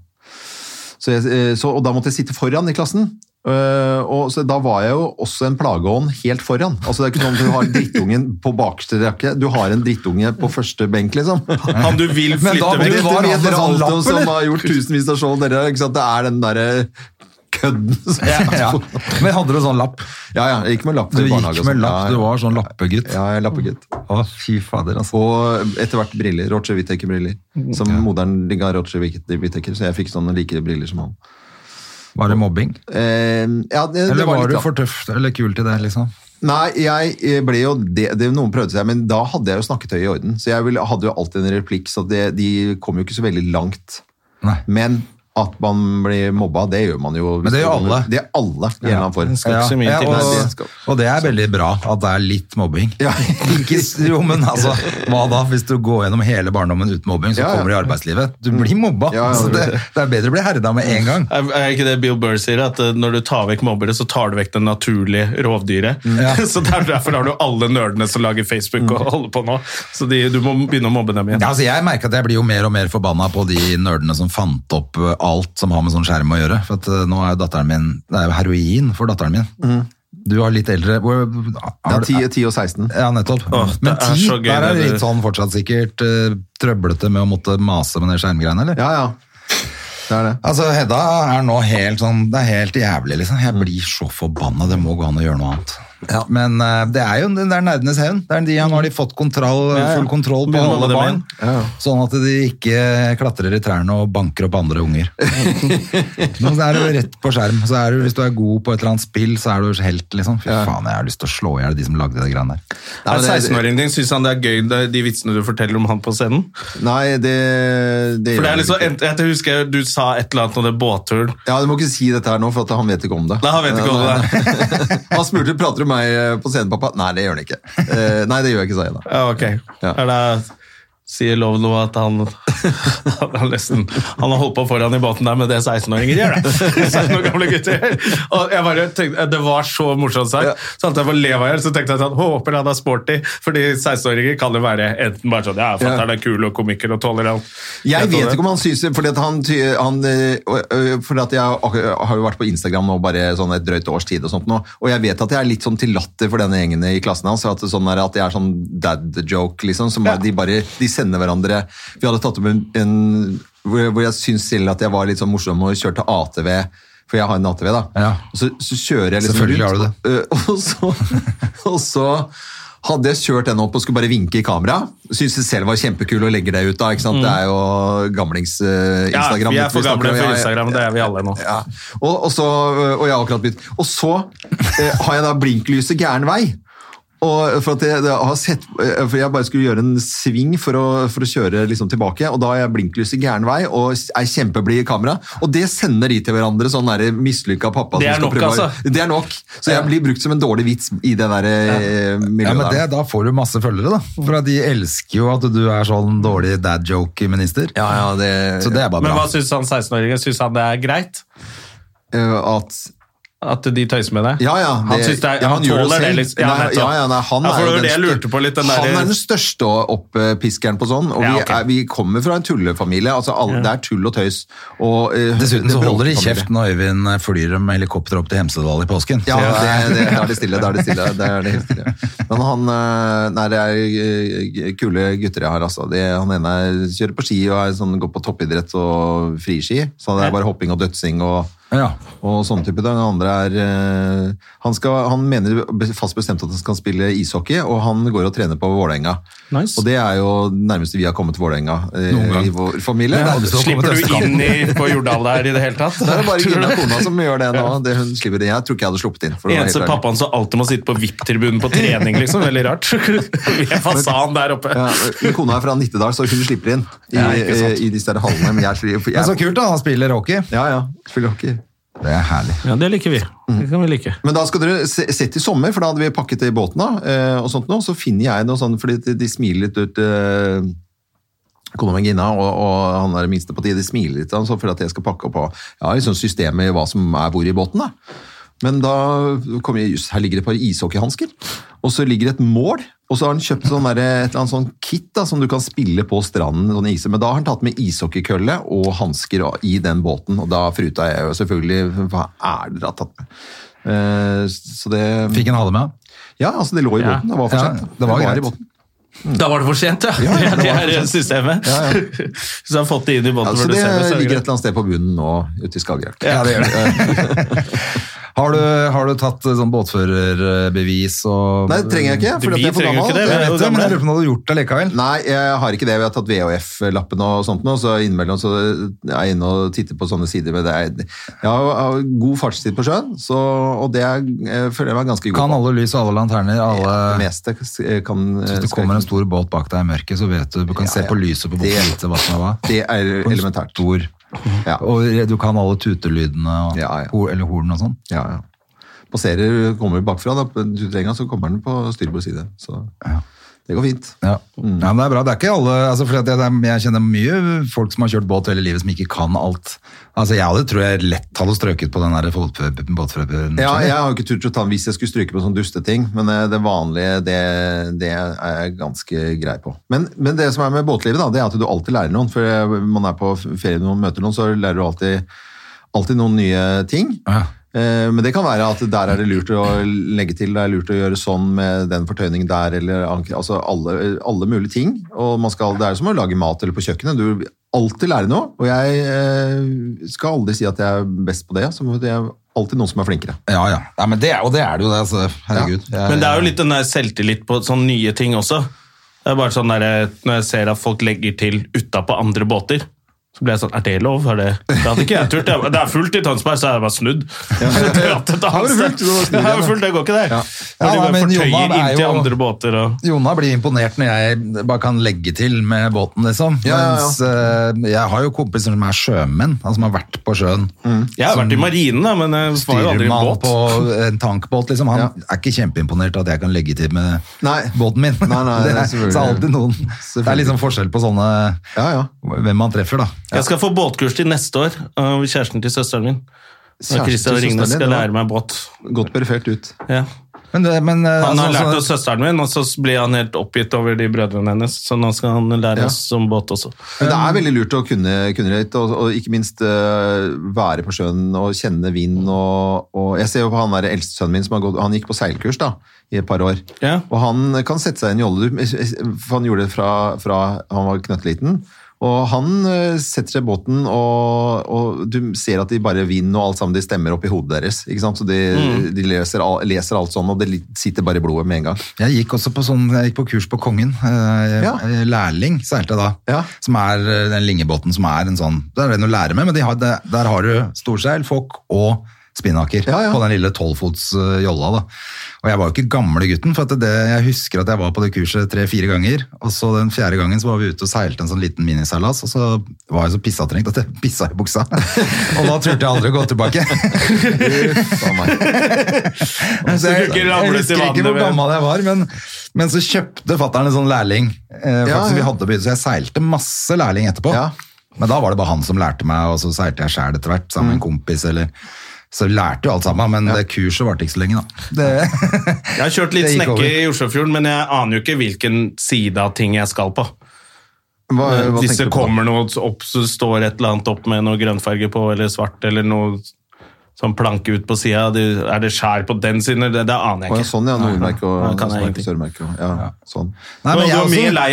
Så jeg, eh, så, og da måtte jeg sitte foran i klassen. Eh, og så da var jeg jo også en plageånd helt foran. Altså Det er ikke sånn at du har drittungen på bakerste rekke, du har en drittunge på første benk, liksom.
Han du vil
Men da
flytte vekk.
blir det
Dette
var han
vet
med
dere
sånn
alt
lapp,
om som
eller?
har gjort tusenvis av show, dere. Ikke sant? Det er den derre kødden som
Ja, ja. Men hadde du sånn lapp?
ja, ja. Jeg gikk med lapp
Du
til
gikk
barnehage. og
med
sånn.
lapp,
Ja,
du
ja.
var sånn lappegutt.
Ja, jeg er lappegutt.
Å, fy fader, altså.
Og etter hvert briller. Roger Whittaker-briller. Som moderen digga Roger Whittaker, så jeg fikk sånne like briller som han.
Var det mobbing?
Eh, ja, det,
Eller
det var,
var,
litt
du
da.
for tøff eller kul til det, liksom?
Nei, jeg eh, ble jo det, det Noen prøvde seg, men da hadde jeg jo snakketøy i orden. Så jeg ville, hadde jo alltid en replikk, så det, de kom jo ikke så veldig langt.
Nei.
Men at man blir mobba, det gjør man jo. hvis
Men det gjør
kommer-
alle.
Det er alle i en eller annen form.
skal ikke så mye til.
Nei, det
og,
skal-
og det er veldig bra at det er litt mobbing.
Ja.
Ikke, s- jo, men altså, hva da? Hvis du går gjennom hele barndommen uten mobbing, så
Ja, ja.
kommer du i arbeidslivet. Du blir mobba.
Ja, ja,
så
det
det,
blir det.
det er bedre å bli herda med en gang.
Er, er ikke det Bill Burr sier, at eh, når du tar vekk mobbere, så tar du vekk det naturlige rovdyret?
Mm.
Ja.
så det er derfor har du alle nerdene som lager Facebook og holder på nå. Så de, du må begynne å mobbe dem igjen.
Ja, altså jeg merker at jeg blir jo mer og mer forbanna på de nerdene som fant opp eh, alt som har med sånn skjerm å gjøre. For at eh, nå er jo datteren min Det er jo heroin for datteren min.
Mhm.
Du er litt eldre. Hvor,
Ja,
har du-
10, 10 og 16.
Ja, nettopp.
Åh, det
Men
er
ti,
så gøy,
der er det
det
litt
du-
sånn fortsatt sikkert eh, trøblete med å måtte mase med de skjermgreiene, eller?
Ja, ja. Det er det.
Altså, Hedda er nå helt sånn Det er helt jævlig, liksom.
Mm.
Jeg blir så forbanna. Det må gå an å gjøre noe annet. Men eh, det er jo det er nerdenes hevn. Det er de, nå har de fått kontroll,
ja.
full kontroll på
Begynner med
alle
dem
barn.
igjen.
Sånn at de ikke klatrer i trærne og banker opp andre unger. Nå er du rett på skjerm. Så er du, hvis du er god på et eller annet spill, så er du helt, liksom. Fy faen, jeg har lyst til å slå i hjel de som lagde det greiene der.
Nei,
Er
men det-
16-åringen din, syns han det er gøy det- de vitsene du forteller om han på scenen?
Nei, det, det
For det er liksom,
ikke.
jeg, jeg husker jeg, Du sa et eller annet om det båtturen.
Ja, Du må ikke si dette her nå, for at han vet ikke om det.
Nei, han vet ikke om det.
Han spurte prater du meg eh, på scenen, pappa. Nei, det gjør han ikke. Eh, Nei, det gjør jeg ikke, sa jeg da.
Ja, ok.
Ja.
Er det, sier Lovlo at han han, har nesten, han har holdt på foran i båten der med det 16-åringer gjør, det. 16 år gamle gutter. Og jeg bare tenkte, Det var så morsomt sagt.
Ja.
Så alt jeg får le av her, så tenkte jeg sånn, håper han er sporty, fordi 16-åringer kan jo være enten bare sånn Ja, fatter'n er kul og komiker og tolerant.
Jeg vet ikke om han synes Fordi at han, ty- han eh, og- ø, Fordi at jeg ak- har jo vært på Instagram nå bare sånn et drøyt års tid og sånt nå, og jeg vet at jeg er litt sånn til latter for denne gjengen i klassen hans, at, det sånn er, at jeg er sånn dad joke, liksom, som er- de bare de sender hverandre Vi hadde tatt opp en, en hvor jeg- hvor jeg syns selv at jeg var litt sånn morsom og kjørte ATV, for jeg har en ATV, da.
Ja.
Og så, så kjører jeg liksom
Selvfølgelig har du det.
Eh, og, så, og så hadde jeg kjørt den opp og skulle bare vinke i kamera. Syns det selv var kjempekul og legger det ut da. ikke sant?
Mm.
Det er jo eh,
Ja,
gamlings-Instagram.
vi er for gamle for Instagram, det er vi alle nå.
Ja. Og, og, så, og jeg har akkurat begynt. Og så eh, har jeg da blinklyset gæren vei. Og for at jeg, jeg har sett, eh, for jeg bare skulle gjøre en sving for å, for å kjøre liksom tilbake, og da har jeg blinklyset gæren vei og er kjempeblid i kamera. Og det sender de til hverandre, sånn der mislykka pappa.
Det
som
er
skal
nok,
prøve å-
altså.
Det er nok. Så jeg blir brukt som en dårlig vits i det der eh, miljøet
Ja, men det,
der.
Da får du masse følgere, da. For at de elsker jo at du er sånn dårlig dad joke-minister.
Ja, ja, det,
Så det er bare
Men
bra.
hva syns han 16-åringen? Syns han det er greit?
eh, at
At de tøyser med deg?
Ja, ja.
Han, synes det er,
ja,
han,
gjør
tåler det,
selv.
liksom. Ja,
nei,
nettopp.
ja, ja, nei, han,
Ja, for
er
det
jo
var det jeg
den
lurte på litt. Den
han
der,
er den største opppiskeren på sånn. Og
Ja,
vi,
ok.
er, vi kommer fra en tullefamilie. Altså, alle, Det er tull og tøys. Og, eh,
Dessuten så holder de
bråker familie.
kjeft når Øyvind flyr med helikopter opp til Hemsedal i påsken.
Ja, det, det, da er det stille, da er det stille. Da er det helt stille. Men han eh, Nei, det er eh, kule gutter jeg har, altså. Det, han ene er- kjører på ski og er sånn, går på toppidrett og friski. Så det er bare hopping og dødsing og,
Ja.
og sånne type. Den andre er eh, han, skal, han mener be- fast bestemt at han skal spille ishockey, og han går og trener på Vålerenga.
Nice.
Og det er jo det nærmeste vi har kommet Vålerenga eh,
Noen gang.
i vår familie.
Ja,
det er,
så kommer
Slipper
til
du inn i, på Jordal der i det hele tatt?
det er bare Gina kona som gjør det nå. Det, hun slipper det. Jeg tror ikke jeg hadde sluppet inn. for å være helt
Eneste
ærlig.
pappaen som alltid må sitte på VIP-tribunen på trening, liksom. Veldig rart. Vi er fasan der oppe.
Ja, men kona er fra Nittedal, så hun slipper inn i, eh,
Ja, ikke sant.
i disse der hallene. Men jeg slipper
Men så
jeg,
kult, da. Han spiller hockey.
Ja, ja. Spiller hockey.
Det er herlig.
Ja, det liker vi. Det kan vi like.
Men da skal dere se, sett i sommer, for da hadde vi pakket det i båten da, eh, og sånt nå, så finner jeg noe sånn, fordi de- de smiler litt ut, eh, kona mi Gina, og, og han er det minste på de, de smiler litt sånn, så for at jeg skal pakke opp på, ja, liksom systemet i hva som er hvor i båten da. Men da kommer jeg, just, her ligger det et par ishockeyhandsker, og så ligger det et mål, og så har han kjøpt sånn der, et eller annet sånn kit da, som du kan spille på stranden, sånn is, men da har han tatt med ishockeykølle og handsker og- i den båten, og da fruta jeg jo selvfølgelig, hva er det dere har tatt med? Eh, Så det
Fikk han ha det med?
Ja, altså det lå i båten. Det var for
Ja,
sent.
det var greit.
i båten.
Da var det for sent, ja!
Mm. ja, det
det
var for
er
sent.
systemet. Så jeg har fått det inn i båten
Altså,
før
det
desember. så er det
ligger et eller
greit.
annet sted på bunnen nå ute i Skagerrak.
Ja, det gjør det. har, du, har du tatt eh, sånn båtførerbevis og
Nei, det trenger jeg ikke, for
Vi
jeg er for
trenger jo
gammel.
ikke det,
Jeg vet
Hvor
det, men
gammel er
jeg
du?
lurer på om du hadde gjort det likevel.
Nei, jeg har ikke det. Vi har tatt VHF-lappen og sånt nå, så innimellom så er jeg inne og titter på sånne sider. Men det er, jeg har, har god fartstid på sjøen, så, og det er, jeg føler jeg meg ganske god
Kan
på.
alle lys og alle lanterner,
Det
alle
meste eh, kan
Hvis det kommer en stor båt bak deg i mørket, så vet du Du kan
Ja,
se
ja.
på lyset på
Det-
båten vite hva som er hva.
Det er
På en
elementært.
Stor.
Ja.
Og du kan alle tutelydene og,
Ja, ja.
hor- eller horn og sånn.
Ja, ja. Passerer, kommer bakfra, da, på utrenga, så kommer den på styrbord side. Så det går fint.
Ja.
Mm.
ja, men det er bra. Det er ikke alle, altså fordi at jeg, det er- jeg kjenner mye folk som har kjørt båt hele livet som ikke kan alt. Altså Jeg hadde, tror jeg lett hadde strøket på den der båtfø- båtføreren.
Ja,
selv.
jeg har jo ikke turt å ta den hvis jeg skulle stryke på sånne dusteting, men eh, det vanlige, det, det er jeg ganske grei på. Men, men det som er med båtlivet, da, det er at du alltid lærer noen. For eh, man er på ferie når man møter noen, så lærer du alltid, alltid noen nye ting.
Ja.
Eh, Men det kan være at der er det lurt å legge til, det er lurt å gjøre sånn med den fortøyningen der, eller anker, altså alle, alle mulige ting. Og man skal, det er som å lage mat eller på kjøkkenet, du vil alltid lære noe, og jeg eh, skal aldri si at jeg er best på det, så det er alltid noen som er flinkere.
Ja, ja. ja men det, er- og det er det jo, det. Altså. Herregud. Jeg-
Men det er jo litt den der selvtillit på sånne nye ting også. Det er bare sånn der, Når jeg ser at folk legger til utapå andre båter, så blir jeg sånn Er det lov? Er det, det hadde ikke jeg turt. Det er fullt i Tønsberg, så er jeg bare snudd. Så dratt et
Her var det
annet
fullt, det var
sted.
snudd
Her var
igjen,
det fullt, det går ikke der.
Ja,
Når de
nei,
bare
men Jonna
fortøyer
er
inntil
jo-
andre båter og
Jona blir imponert når jeg bare kan legge til med båten, liksom.
Ja, ja, ja.
Mens eh, jeg har jo kompiser som er sjømenn, altså, som har vært på sjøen.
Mm. Jeg har vært i marinen, da, men jeg var jo aldri i
Styrmann
båt.
på en tankbåt, liksom. Han
Ja.
er ikke kjempeimponert at jeg kan legge til med
Nei.
båten min.
Nei, nei,
det, er,
selvfølgelig.
så er alltid noen Det er liksom forskjell på sånne
Ja, ja.
Hvem man treffer, da.
Jeg skal få båtkurs til neste år av kjæresten til søsteren min. Og
Kjæresten til
Christian
søsteren
Ringnes
din,
skal
det var-
lære meg båt.
Godt perifert ut.
Ja.
Men, det- men, eh,
Han har
altså,
lært
sånne-
oss søsteren min, og så blir han helt oppgitt over de brødrene hennes. Så nå skal han lære
Ja.
oss om båt også.
Men det er veldig lurt å kunne, kunne litt, og, og ikke minst øh, være på sjøen og kjenne vind. Og, og jeg ser jo på han der eldste sønnen min, som har gått, han gikk på seilkurs da, i et par år.
Ja.
Og han kan sette seg i en jolle, du- for han gjorde det fra, fra han var knøttliten. Og han øh, setter seg i båten, og, og du ser at de bare vinner, og alt sammen, de stemmer opp i hodet deres. Ikke sant? Så de,
Mm.
de leser, all- leser alt sånn, og det li- sitter bare i blodet med en gang.
Jeg gikk også på, sånn, jeg gikk på kurs på Kongen. Eh,
Ja.
Lærling seilte jeg da.
Ja.
Som er eh, den lingebåten som er en sånn Det er den å lære med, men de har, det, der har du storseil, fokk og spinnaker
Ja, ja.
på den lille tolvfots eh, jolla. da. Og jeg var jo ikke gamle gutten, for at det, jeg husker at jeg var på det kurset tre-fire ganger. Og så den fjerde gangen så var vi ute og seilte en sånn liten miniseilas, og så var jeg så pissatrengt at jeg pissa i buksa. og da turte jeg aldri å gå tilbake.
Sa han meg.
Så
du
jeg,
ikke
jeg
ramlet i
husker
vannet
ikke hvor
med-
gammel jeg var, men, men så kjøpte fatteren en sånn lærling. Eh, faktisk,
Ja, ja.
Vi hadde begynt, så jeg seilte masse lærling etterpå.
Ja. Mm.
Men da var det bare han som lærte meg, og så seilte jeg sjæl etter hvert sammen med en kompis. eller Så vi lærte jo alt sammen, men det kurset varte ikke så lenge, da. Det,
Jeg har kjørt litt
Det gikk
snekke
over.
i Oslofjorden, men jeg aner jo ikke hvilken side av ting jeg skal på.
Hva, hva
Hvis
tenker
det
du på?
Eh, kommer noe opp, så står et eller annet opp med noe grønnfarge på, eller svart, eller noe sånn planke ut på sida. Er det skjær på den siden? eller Det, det aner
Å,
jeg
ja,
ikke.
sånn, ja. Nordmerke og
Nei, kan jeg
Østmerke,
ingenting.
Sørmerke. og- Ja, sånn.
Nei, men
det
jeg
var mye
også-
leia.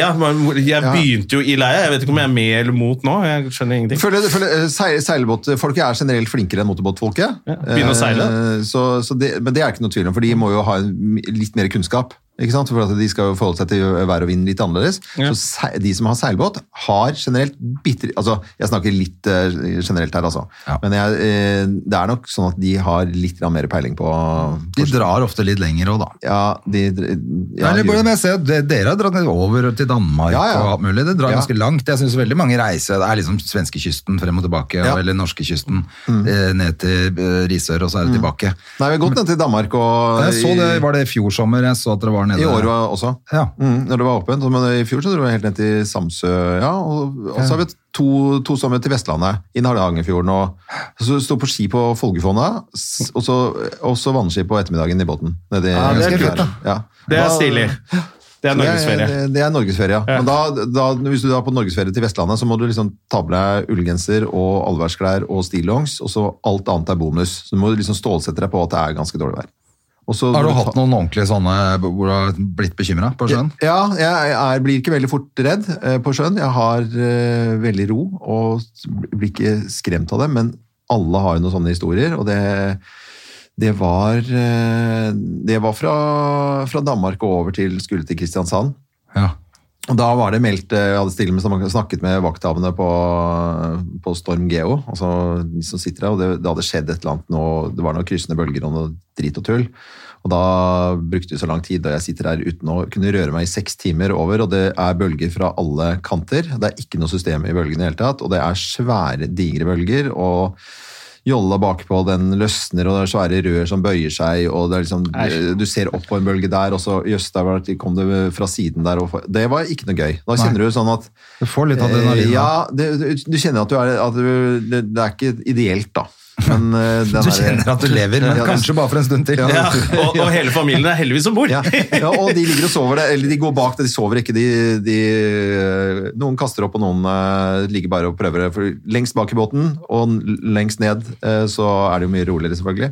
Jeg
Ja.
begynte jo i leia. Jeg vet ikke om jeg er med eller mot nå. Jeg skjønner ingenting.
Føler, føler, seil, seilbåtfolket er generelt flinkere enn motorbåtfolket.
Ja, begynne å seile.
Eh, Så, så det, men det er ikke noe tvil om, for de må jo ha en, litt mer kunnskap. Ikke sant? For at de skal jo forholde seg til vær og vind litt annerledes.
Ja.
Så se- de som har seilbåt, har generelt bitte altså, Jeg snakker litt eh, generelt her, altså.
Ja.
Men jeg, eh, det er nok sånn at de har litt grann mer peiling på
de drar ofte litt lenger òg, da.
Ja, de ja,
Eller går
gjør-
det med å se at de- Dere har dratt ned over til Danmark
Ja, ja.
og alt mulig. Det drar
Ja.
ganske langt. Jeg synes veldig mange reiser Det er liksom svenskekysten frem og tilbake,
Ja. Mm.
og- eller norskekysten eh, ned til eh, Risør, og så er det tilbake.
Nei, vi har gått ned til Danmark og
Jeg så det,
i,
Var det i fjor sommer? Jeg så at dere var nede
i år også.
Ja.
Mm, når det var åpent, men i fjor så dro jeg helt ned til Samsø, ja, og, og så har vi to, to sommer til Vestlandet, inn Hardangerfjorden, og så stod på ski på Folgefonna, s- og så, og så vannski på ettermiddagen i båten. Nede i-
Ja, det er
der.
kult, da.
Ja.
Det er stilig. Det er norgesferie.
Det, det er norgesferie, ja. Men da, da, hvis du er på norgesferie til Vestlandet, så må du liksom ta med deg ullgenser og allværsklær og stillongs, og så alt annet er bonus. Så du må liksom stålsette deg på at det er ganske dårlig vær. Og så-
Har du hatt noen ordentlige sånne hvor du har blitt bekymra på sjøen?
Ja, jeg er, blir ikke veldig fort redd eh, på sjøen. Jeg har eh, veldig ro og blir ikke skremt av det, men alle har jo noen sånne historier, og det, det var, eh, det var fra, fra Danmark og over til skulle til Kristiansand.
Ja.
Og da var det meldt, eh, jeg hadde stille med, snakket med vakthavene på, på Storm Geo, altså de som sitter der, og det, det hadde skjedd et eller annet nå, det var noen kryssende bølger og noe drit og tull. Og da brukte det så lang tid, og jeg sitter her uten å kunne røre meg i seks timer over, og det er bølger fra alle kanter. Det er ikke noe system i bølgene i det hele tatt, og det er svære, digre bølger, og jolla bakpå, den løsner, og det er svære rør som bøyer seg, og det er liksom, du ser opp på en bølge der, og så jøss, der var det- kom det fra siden der. Og for- det var ikke noe gøy. Da kjenner du sånn at
Du får litt
eh,
adrenalin. da.
ja, det, du- du kjenner at du er at du, det, det er ikke ideelt, da. Men eh, den
Du
er-
kjenner at du lever, men
Ja, det-
kanskje bare for en stund til.
Ja, og, og hele familien er heldigvis om bord.
ja. ja, og de ligger og sover det, eller de går bak det, de sover ikke. De, de, noen kaster opp, og noen eh, ligger bare og prøver det. For lengst bak i båten og n- lengst ned, eh, så er det jo mye roligere, selvfølgelig.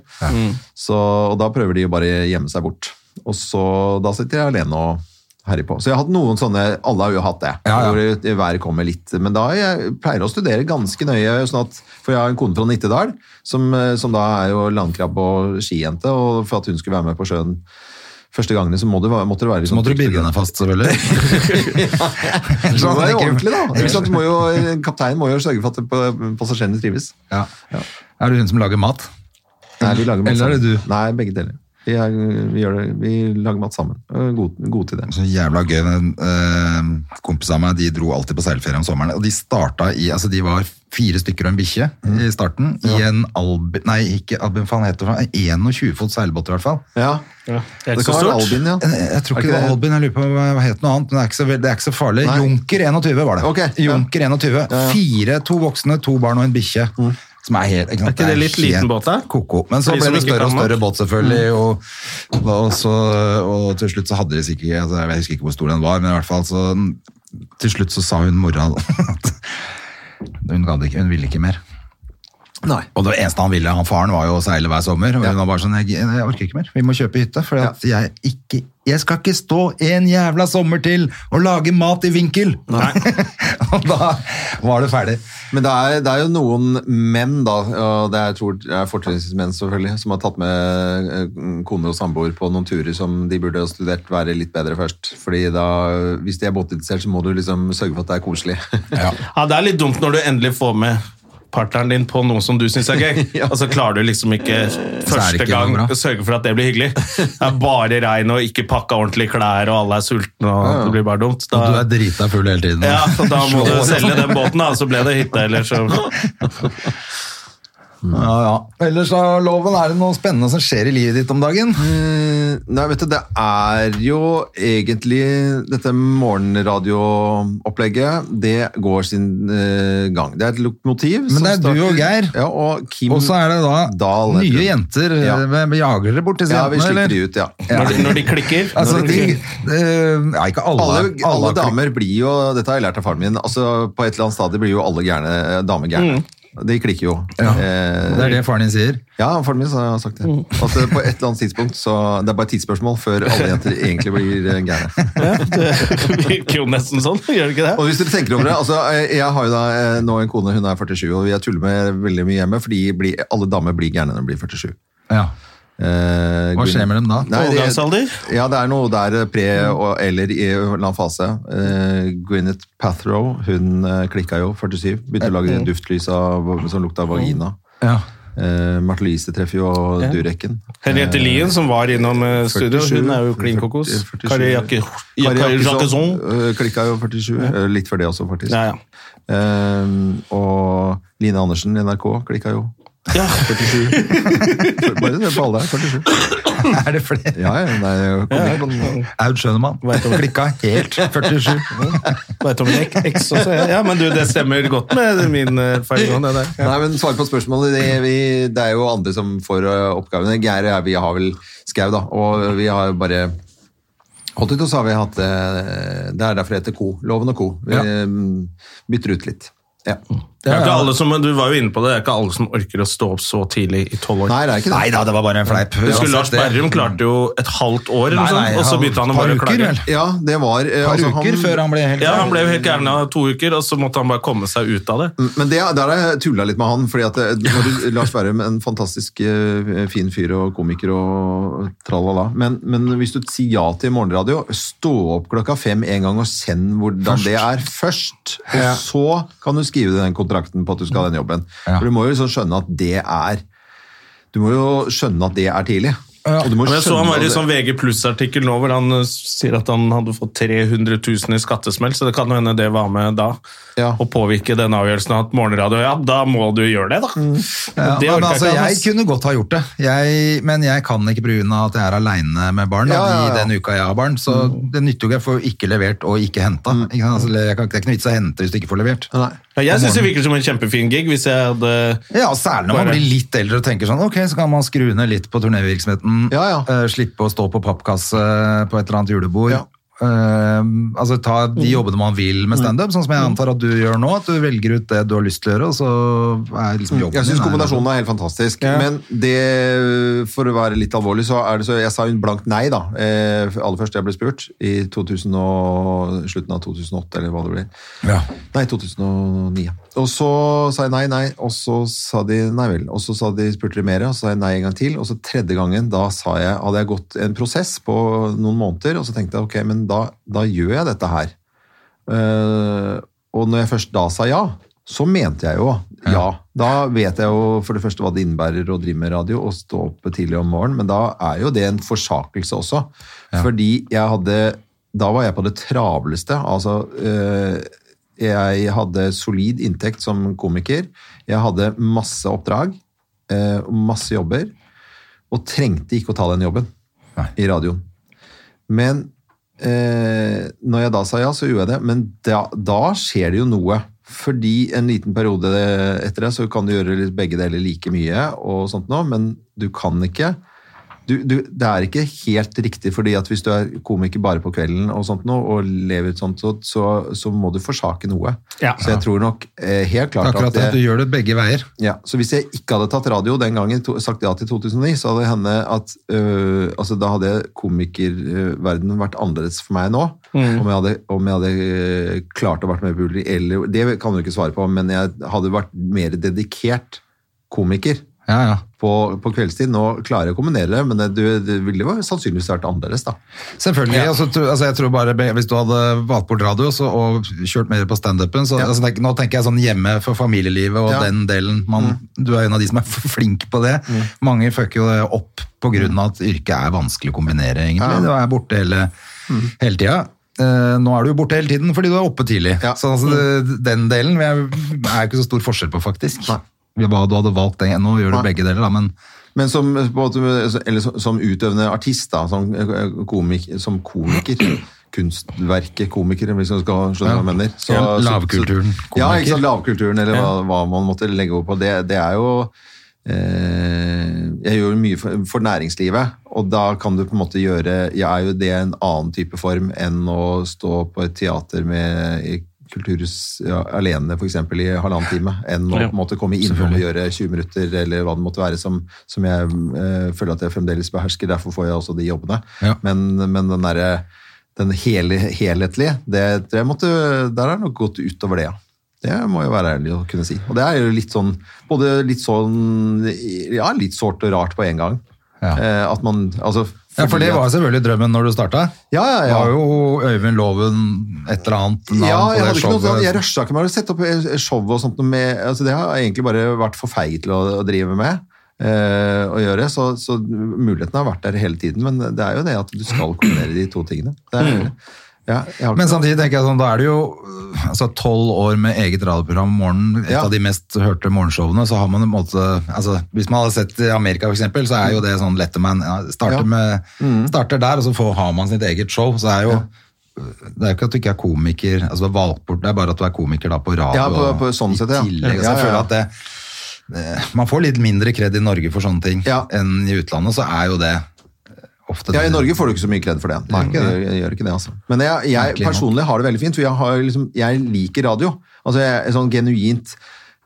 Så, og da prøver de jo bare å gjemme seg bort. Og så, da sitter jeg alene og herjer på. Så jeg har hatt noen sånne, alle har jo hatt det.
Ja, ja.
Hvor eh, været kommer litt. Men da jeg pleier å studere ganske nøye, sånn at, for jeg har en kone fra Nittedal, som, eh, som da er jo landkrabb og skijente, og for at hun skulle være med på sjøen første gangene så må det, va- måtte det være
Så måtte du binde henne fast, selvfølgelig.
Det
Sånn,
må være
ikke-
ordentlig, da. Ikke sant? Du må jo, eh, kapteinen må jo sørge for at pa- passasjerene trives.
Ja. Er det hun som lager mat?
Nei, vi lager mat
Eller er det
sammen.
du?
Nei, begge deler. Vi, er, vi, gjør det, vi lager mat sammen. Er God, god til det.
Så jævla gøy. Den, eh, kompisene av meg de dro alltid på seilferie om sommeren. Og de starta i altså De var fire stykker og en bikkje
Mm.
i starten. I en Albin Nei, ikke Albin, faen heter det? 21 fot seilbåt, i hvert fall.
Ja,
Det er
det
ikke så
kan være
stort.
Albin, ja.
Jeg, Eh, jeg tror ikke
Er ikke
det var
det-
Albin, jeg lurer på hva hva het noe annet. Men det er ikke så, veld- det er ikke så farlig.
Nei.
Junker 21 var det.
Ok, ja. Mm.
Junker 21. Fire, to voksne, to barn og en bikkje. Som er, helt,
Er ikke det litt liten båt, da?
Koko. Men så
For de
ble
som
det
ikke
større og
kan nok.
større båt, selvfølgelig.
Mm.
Og, og, så, og til slutt så hadde de sikkert altså, Jeg husker ikke hvor stor den var, men i hvert fall så Til slutt så sa hun mora at hun, gadd ikke, hun ville ikke mer.
Nei.
Og det eneste han ville, han faren var jo å seile hver sommer, og
Ja.
hun var bare sånn, jeg, jeg orker ikke mer, vi må kjøpe hytte, for at jeg, ikke, jeg skal ikke stå en jævla sommer til og lage mat i vinkel. og da var det ferdig.
Men det er, det er jo noen menn, da, og det er, jeg tror det er fortrinnsvis menn selvfølgelig, som har tatt med eh, koner og samboer på noen turer som de burde ha studert være litt bedre først. Fordi da, hvis de er båtinteressert, så må du liksom sørge for at det er koselig.
Ja, det er litt dumt når du endelig får med partneren din på noe som du syns er gøy, og så klarer du liksom ikke første
ikke
gang
noe bra.
å sørge for at det blir hyggelig. Det er bare regn og ikke pakka ordentlige klær, og alle er sultne, og det blir bare dumt. Da,
Du er drita full hele tiden.
ja, så da må du selge den båten, da, så ble det hytte, eller så
Ja, ja. Ellers, da, Loven, er det noe spennende som skjer i livet ditt om dagen? Eh,
Nei, vet du, det er jo egentlig dette morgenradioopplegget. Det går sin eh, gang. Det er et lokomotiv.
Men det er
som
du og
starter-
Geir.
Ja, og Kim
Og så er det da
Dahl, heter
nye
hun.
jenter.
Ja.
eh, Jager dere bort disse
Ja, vi
jentene,
slipper
eller?
de ut, ja.
Når, de, når de klikker.
Altså,
når de
de,
klikker.
eh, ja, ikke alle.
Alle, alle
har klikk.
damer blir jo, dette har jeg lært av faren min, altså på et eller annet stadie blir jo alle gærne, eh, damer gærne. De klikker jo.
Ja.
Eh,
Det er det faren din sier.
Ja, faren min har sagt det. At eh, på et eller annet tidspunkt, så det er bare et tidsspørsmål før alle jenter egentlig blir eh, gærne.
Ja, det virker jo nesten sånn, gjør det ikke det?
Og hvis dere tenker over det, altså eh, jeg har jo da eh, nå en kone, hun er 47, og jeg tuller med veldig mye hjemme, fordi blir, alle damer blir gærne når de blir 47.
Ja.
Eh,
Hva skjer med dem da?
Nei, det-
Overgangsalder?
Ja, det er noe der eh, pre- og, eller i en eller annen fase. Eh, Gwyneth Pathrow, hun eh, klikka jo, 47. Begynte å lage duftlys av, som lukta av vagina.
Ja.
Eh, Marte Louise treffer jo Durekken.
Henriette Lien, som var innom eh, studio,
47,
hun er jo klin kokos.
47.
Kari Jakke- Jakke-
Kari
Jakkesson.
Jakkesson, eh, Klikka jo 47. eh, Litt før det også, faktisk.
Ja, ja.
Eh, og Line Andersen i NRK klikka jo.
Ja.
47. Bare se på alle her. 47.
Er det flere?
Ja, ja, nei, kom ikke på den.
Aud Schønemann.
Vet om-
Klikka helt 47.
Vet du om det er X også? Ja, Ja, men du, det stemmer godt med min erfaring. om Det der. Ja.
Nei, men svar på spørsmålet. Det, vi, det er jo andre som får ø, oppgavene. Geir og jeg, vi har vel skau, da. Og vi har jo bare holdt ut, og så har vi hatt eh, Det er derfor det heter Co. Loven og Co. Vi
Ja. Hm.
mm, bytter ut litt. Ja.
Det er ikke alle som, du var jo inne på det, det er ikke alle som orker å stå opp så tidlig i tolv år.
Nei, det er ikke det.
Nei da, det var bare en fleip.
Husker
Uansett,
Lars
det-
Berrum klarte jo et halvt år, eller
Nei,
noe
nei,
sånt, og så
han-
begynte han å
par
bare
uker,
klage.
vel?
Ja, det var eh,
par
altså,
uker
han-
før han ble helt
Ja, Han ble jo helt gæren av to uker, og så måtte han bare komme seg ut av det.
Mm,
Men det, der har jeg tulla litt med han. fordi at eh, når du, Lars Berrum, en fantastisk eh, fin fyr og komiker og tralala. Men, men hvis du sier ja til morgenradio, stå opp klokka fem en gang og send hvordan det er først. Og så kan du skrive den kontrakten på at du skal ha den jobben.
Ja.
For du må jo liksom skjønne at det er Du må jo skjønne at det er tidlig.
Ja.
du må
Men jeg så
skjønne
han var i
det-
sånn VG pluss-artikkel nå, hvor han eh, sier at han hadde fått 300 000 i skattesmell, så det kan jo hende det var med da.
Ja.
Å påvirke den avgjørelsen av at morgenradio Ja, da må du gjøre det, da.
Ja,
Det
men
orker ikke
altså,
han,
jeg
ass.
kunne godt ha gjort det, jeg, men jeg kan ikke pga. at jeg er aleine med barn. Da,
Ja, ja, ja.
I den uka jeg har barn, så det nytter jo ikke. Jeg får jo ikke levert og ikke henta. Ikke sant? Altså, jeg kan, det er ikke noe vits å hente hvis du ikke får levert.
Nei.
Ja, jeg syns det virker som en kjempefin gig, hvis jeg hadde
Ja, Særlig når man
Bare-
blir litt eldre og tenker sånn Ok, så kan man skru ned litt på turnévirksomheten.
Ja, ja.
eh, slippe å stå på pappkasse på et eller annet julebord.
Ja.
Eh, altså Ta de jobbene man vil med standup, sånn som jeg antar at du gjør nå. At du velger ut det du har lyst til å gjøre, og så er liksom jobben
Mm. Jeg syns
din er-
kombinasjonen er helt fantastisk. Men det, for å være litt alvorlig, så er det så Jeg sa jo blankt nei, da. Eh, aller først jeg ble spurt. I 2000 og, slutten av 2008, eller hva det blir.
ja.
Nei, 2009. ja. Og så sa jeg nei, nei, og så sa de nei vel. Og så sa de, spurte de mer, og så sa jeg nei en gang til. Og så tredje gangen, da sa jeg, hadde jeg gått en prosess på noen måneder, og så tenkte jeg ok, men da, da gjør jeg dette her. Eh, og når jeg først da sa ja, så mente jeg jo ja. Da vet jeg jo for det første hva det innebærer å drive med radio og stå opp tidlig om morgenen, men da er jo det en forsakelse også. Fordi jeg hadde Da var jeg på det travleste. Altså eh, Jeg hadde solid inntekt som komiker. Jeg hadde masse oppdrag, eh, og masse jobber, og trengte ikke å ta den jobben
Nei.
i radioen. Men eh, når jeg da sa ja, så gjorde jeg det. Men da, da skjer det jo noe. Fordi en liten periode etter det, så kan du gjøre litt begge deler like mye, og sånt nå, men du kan ikke du, du, Det er ikke helt riktig, fordi at hvis du er komiker bare på kvelden og sånt nå, og lever ut sånt, så, så, så må du forsake noe.
Ja.
Så jeg tror nok eh, helt klart
Akkurat det,
at
at du gjør det begge veier.
ja, så hvis jeg ikke hadde tatt radio den gangen, to, sagt ja til 2009, så hadde det hende at øh, altså da hadde komikerverdenen vært annerledes for meg nå. Om, jeg hadde, om jeg hadde øh, klart å vært mer publikum, eller Det kan du ikke svare på, men jeg hadde vært mer dedikert komiker
Ja, ja.
på, på kveldstid. Nå klarer jeg å kombinere det, men det, du, det ville jo sannsynligvis vært annerledes, da.
Selvfølgelig. Altså, tro- altså, jeg tror bare be- Hvis du hadde valgt bort radio så, og kjørt mer på standupen så,
Ja.
altså, tenk, Nå tenker jeg sånn hjemme for familielivet og
Ja. Mm.
den delen. Man, Du er en av de som er flink på det. Mange fucker jo det opp på grunn av at yrket er vanskelig å kombinere, egentlig. Du er borte hele,
Mm.
hele tida. Eh, nå er du jo borte hele tiden fordi du er oppe tidlig.
Ja. Mm.
Så altså, det- den delen er er jo ikke så stor forskjell på, faktisk. hva du hadde valgt den. Nå gjør du
Nei.
begge deler, da, men
Men som, på en måte- eller som- som utøvende artist, da, som, eh, komik, som komiker, kunstverket komiker, hvis man skal skjønne hva jeg mener. Så,
Ja, lavkulturen
Så, ja, ikke sant, lavkulturen, eller hva, hva man måtte legge over på. Det, det er jo eh, Jeg gjør mye for, for næringslivet, og da kan du på en måte gjøre Jeg er jo det en annen type form enn å stå på et teater med i Kulturhus ja, alene for eksempel, i halvannen time, enn å
Ja.
på en måte komme inn og gjøre 20 minutter, eller hva det måtte være, som, som jeg eh, føler at jeg fremdeles behersker. Derfor får jeg også de jobbene.
Ja.
Men, men den, derre- den hele, helhetlige, det, tror jeg måtte, der er det nok gått utover det, ja. Det må jeg være ærlig å kunne si. Og det er jo litt sånn, både litt sånn, ja, litt sårt og rart på en gang.
Ja.
Eh, at man, altså...
Ja, for det
fordi at-
var selvfølgelig drømmen når du starta.
Ja, ja, ja.
Var jo Øyvind Loven et eller annet navn
Ja,
på
jeg,
det
hadde ikke noe, sånn-
showet.
jeg rusha ikke med å sette opp eh, show og sånt noe med altså Det har jeg egentlig bare vært for feig til å, å drive med. eh, å gjøre, så, så muligheten har vært der hele tiden, men det er jo det at du skal kombinere de to tingene. Det er, ja, jeg har ikke-
Mm. Men samtidig tenker jeg sånn, da er det jo øh, altså tolv år med eget radioprogram om morgenen, et
Ja.
av de mest hørte morgenshowene, så har man en måte, altså hvis man hadde sett i Amerika for eksempel, så er jo det sånn Letterman, ja, starter,
Ja. Mm.
med, starter der, og så får, har man sitt eget show, så er jo, det er jo ikke at du ikke er komiker, altså du er valgt bort, det er bare at du er komiker da på radio.
Ja, på-
og
på sånn sett, ja.
I tillegg, så
Ja, ja,
jeg føler
ja.
at det, det- man får litt mindre kred i Norge for sånne ting
Ja.
enn i utlandet, så er jo det ofte
Ja, I
det-
Norge får du ikke så mye kred for det. Nei,
Gjør ikke det.
jeg, jeg gjør ikke det, altså. Men jeg, jeg
Merkelig nok.
personlig har det veldig fint, for jeg, har liksom, jeg liker radio. Altså, jeg er sånn genuint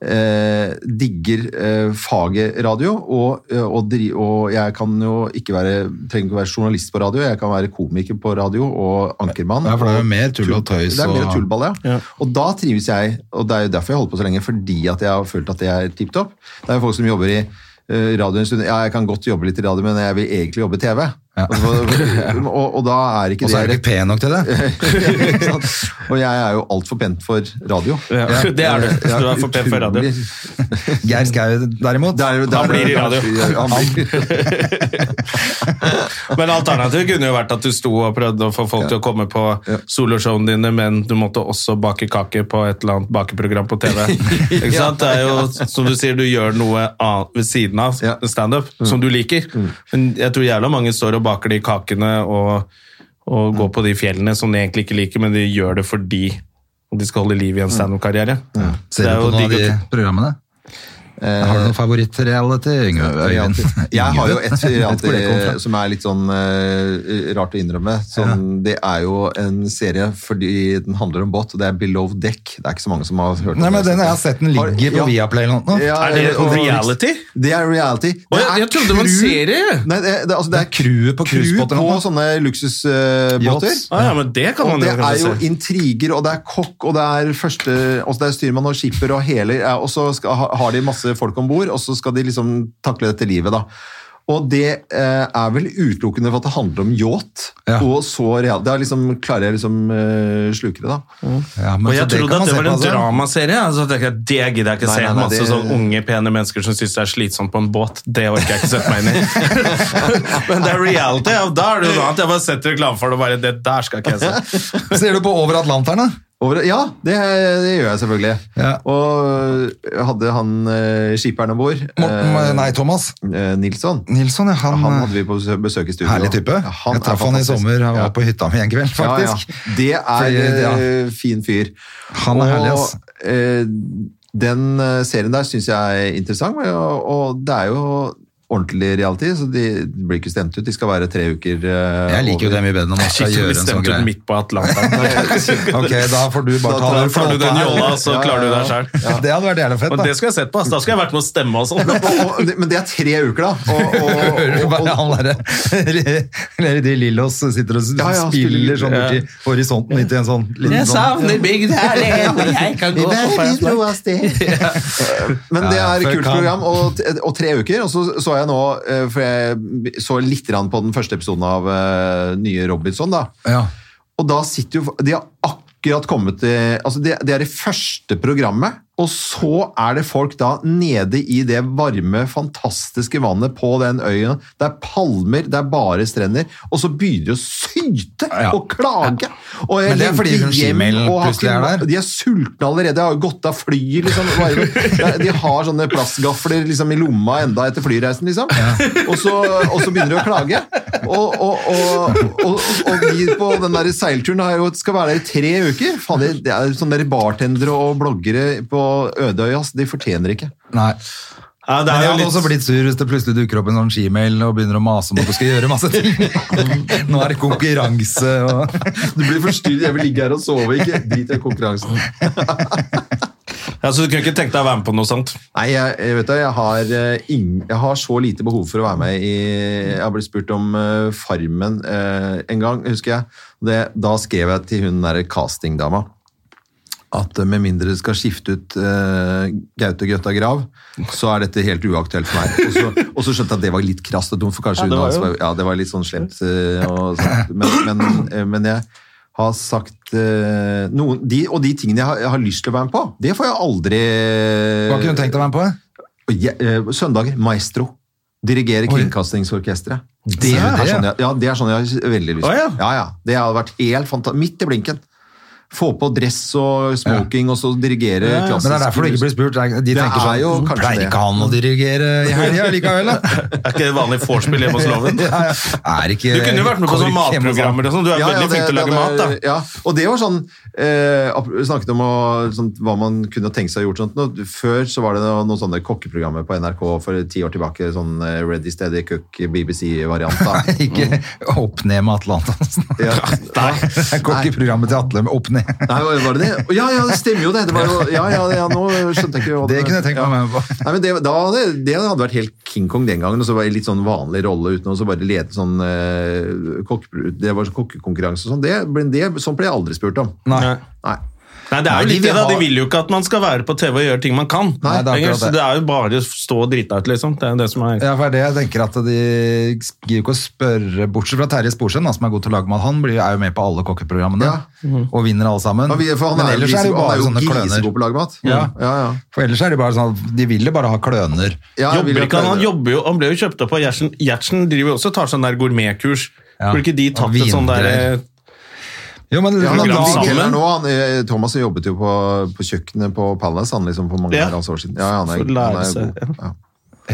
eh, digger eh, faget radio, og, eh, og, dri, og jeg kan jo ikke være, trenger ikke å være journalist på radio, jeg kan være komiker på radio og ankermann.
Ja, for det er jo
og
mer tull og tøys
Det er mer
og-
tullball, ja. Og da trives jeg, og det er jo derfor jeg holder på så lenge, fordi at jeg har følt at det er tipped opp. Det er jo folk som jobber i eh, radio en stund. Ja, jeg kan godt jobbe litt i radio, men jeg vil egentlig jobbe i TV. Og, så- og, og da er ikke
Og så er du
det
ikke pen nok til det.
Ikke sant? Og jeg er jo altfor pent for radio.
Ja, det er du. Du er for pen for radio.
Utrolig.
Geir Skau derimot,
Det er jo- det
Han
er jo-
blir i radio.
Ja, han blir-
Men alternativet kunne jo vært at du sto og prøvde å få folk til å komme på soloshowene dine, men du måtte også bake kake på et eller annet bakeprogram på TV. Ikke sant? Det er jo, som du sier, du gjør noe annet ved siden av
Ja.
standup
Mm.
som du liker. Men jeg tror jævla mange står og baker de kakene og, og
Mm.
går på de fjellene som de egentlig ikke liker, men de gjør det fordi de skal holde liv i en standup-karriere.
Mm. Ser du på noen av de
digg å-
programmene? Har du noen favorittreality? Yngve Øyen?
Eh, Jeg har jo
Yngve?
et
Jeg vet ikke hvor det kom fra.
reality som er litt sånn eh, rart å innrømme. Sånn, Det er jo en serie fordi den handler om båt, og det er Below Deck. Det er ikke så mange som har hørt om
Nei, men
det.
den jeg har sett den
Har-
ligger på
ja.
Viaplay eller noe.
Ja,
Er det
og-
reality?
Det er reality.
Å, jeg- jeg trodde det var en
crew-
serie.
Nei, det, er- det, altså, det er
crewet på
crew
cruisebåter
på
nå.
sånne luksusbåter.
Yachts.
Ah, ja, men det kan
Og
man
det
jo
er
kanskje
jo
se.
intriger, og det er kokk, og det er, første, og det er styrmann og skipper og heler, ja, og så skal, ha- har de masse folk om bord, og så skal de liksom takle dette livet, da. Og det eh, er vel utelukkende for at det handler om yacht,
Ja.
og så real. Det er liksom, klarer jeg liksom eh, sluker det, da.
Ja, men
Og
så
jeg
kan
trodde
man
at det
se
var
på,
en
altså.
dramaserie. Altså, tenkte jeg, det gidder jeg ikke
Nei,
se.
nei, nei,
Masse
det-
sånn unge, pene mennesker som syns det er slitsomt på en båt. Det orker jeg ikke sette meg inn i. Men det er reality. Og da er det jo noe annet. Jeg bare setter reklame for det, og bare det der skal ikke jeg se.
Ser du på Over Atlanteren, da?
Over, ja, det, det gjør jeg selvfølgelig.
Ja.
Og jeg hadde han eh, skiperen ombord,
Morten, nei, Thomas
eh, Nilsson,
Nilsson, ja, han, eh,
han hadde vi på besøk i studio.
herlig type.
Ja, han
jeg
er
traff han i
fantastisk.
sommer, han
Ja.
var på hytta mi en kveld, faktisk.
Ja, ja. Det er
Fordi, ja.
eh, fin fyr.
Han er herlig, ass.
Og, eh, den eh, serien der syns jeg er interessant, og, og det er jo ordentlig reality, så de blir ikke stemt ut. De skal være tre uker eh,
Jeg liker jo
over. Eh,
det mye bedre når man skal
Shit,
gjøre
vi
en sånn
stemte ut
greie.
midt på Atlanta.
Ok, da får du bare ta
Da
den
Får du den
flåta her.
jolla, så
Ja, ja,
klarer du deg
ja.
sjøl.
Det hadde vært jævlig fett,
Og
da.
det skal jeg sett på. ass. Da skal jeg vært med å stemme og sånn.
Og, og, og- men det er tre uker, da. Og, og,
Hører du
og,
bare
og,
han derre Eller de Lillos sitter og
Ja, ja,
spiller
spiller-
sånn borti horisonten inntil en sånn liten
Jeg
sånn
savner bygd her, det er hvor jeg kan gå.
men det
Ja,
er
fuck
et kult
han.
program, og, og tre uker. Og så så jeg nå, eh, for jeg så litt grann på den første episoden av eh, nye Robinson, da.
Ja.
Og da sitter jo De har akkurat kommet til Altså, det, det er det første programmet Og så er det folk da nede i det varme, fantastiske vannet på den øya. Det er palmer, det er bare strender. Og så begynner de å syte
Ja.
og klage! Og jeg
Men det er fordi
lengter
hun
hjem
skimel
og har
plutselig
ikke-
er der.
De er sultne allerede. Jeg har jo gått av flyet, liksom. Varme. Ja, De har sånne plastgafler liksom, i lomma enda etter flyreisen, liksom. Og, så, og så begynner de å klage. Og, og, og, og, og vi på den der seilturen har jo, skal være der i tre uker. Faen, det, det er sånne der bartendere og bloggere på Ødøya, ass. De fortjener ikke.
Nei.
Ja, det
Men
er jo
jeg hadde
litt...
også blitt sur hvis det plutselig dukker opp en sånn gmail og begynner å mase om at du skal gjøre masse ting. Nå er det konkurranse og
Du blir forstyrret. Jeg vil ligge her og sove, ikke drit i konkurransen.
Ja, så du kunne ikke tenkt deg å være med på noe sånt?
Nei, jeg, jeg vet det, jeg har, eh, ing, jeg har så lite behov for å være med i Jeg har blitt spurt om eh, Farmen eh, en gang, husker jeg. Det, da skrev jeg til hun derre castingdama at eh, med mindre du skal skifte ut eh, Gaute Grøtta Grav, så er dette helt uaktuelt for meg. Og så, og så skjønte jeg at det var litt krast og dumt, for
Ja,
kanskje
det
hun
var
hans
jo-
var- ja, det var litt sånn slemt. eh, Og sånt. Men, men, eh, men jeg har sagt eh, noen de, Og de tingene jeg har, jeg har lyst til å være med på, det får jeg aldri
Hva kunne du tenkt deg å være med på?
og je- eh, Søndager, maestro. Dirigere
Oi.
Kringkastingsorkestret. Det,
Se
er
det, ja.
sånn jeg, ja, det er sånn jeg har veldig lyst
Å,
til.
ja.
Ja, ja. Det hadde vært helt fantastisk. Midt i blinken. Få på dress og smoking, og så dirigere
Ja, ja.
klassisk
Men det er derfor du ikke blir spurt. De
Det
tenker
er
sånn
jo
"Hvorfor
kanskje
Pleier
det."
ikke han å dirigere i helga likevel, da?
Er ikke det vanlig vorspiel hjemme hos Loven?
Ja, ja. Er ikke
Du kunne jo vært med på sånne
KORK hjemme hos han?
matprogrammer og sånn. Du er
Ja, ja,
veldig
det-
flink til å
det
lage mat,
hadde-
da.
Ja, og det var sånn eh, ap- Vi snakket om å, sånn, hva man kunne tenkt seg å gjort. Sånt. nå. Før så var det noe- noen sånne kokkeprogrammer på NRK for ti år tilbake. Sånn eh, Ready Steady Cook BBC-variant. da.
Ikke opp ned med Atle Antonsen.
Ja.
Det er kort i programmet til Atle med opp ned.
Nei, var var det det? Å, Ja, ja, det stemmer jo det. det var jo, ja, ja, ja, nå skjønte jeg ikke hva
Det kunne jeg tenkt meg å være med på.
Nei, men det, da, hadde- det hadde vært helt King Kong den gangen, og så var det litt sånn vanlig rolle uten å så bare lede sånn eh, kokke, Det var sånn kokkekonkurranse og sånn. Det, ble- det, sånn ble jeg aldri spurt om.
Nei.
Nei.
Nei, det
Nei,
er jo
de
litt det, da.
har-
De vil jo ikke at man skal være på TV og gjøre ting man kan.
Nei, det er
Lenger,
akkurat
så
det.
det er jo bare å stå og drite deg ut, liksom. Det er jo det som er
Ja, for det er det jeg tenker at de gir jo ikke å spørre, bortsett fra Terje Sporsem, da, som er god til å lage mat, han blir, er jo med på alle kokkeprogrammene
Ja.
Mhm.
og vinner alle sammen.
Men, vi, for han
Men
er jo
ellers er det jo
grise- han er
bare
jo
sånne kløner.
grisegod på å lage mat.
Ja.
ja, ja.
For ellers er det bare sånn at de vil jo bare ha kløner.
Ja, jeg vil
Jobber
ha
ikke han, han
kløner.
jobber jo, han ble jo kjøpt opp av Gjertsen. Gjertsen driver jo også og tar sånn der gourmetkurs.
Ja,
Burde ikke de
og
tatt et sånn der
vingreier. Jo, men
Ja,
men
han,
Grand
da-
Sammen.
han, nå, han, eh, Thomas jobbet jo på, på kjøkkenet på Palace han liksom for mange
Ja.
herrens år siden. Ja, ja, han er,
For å lære
han er
seg,
god. Ja.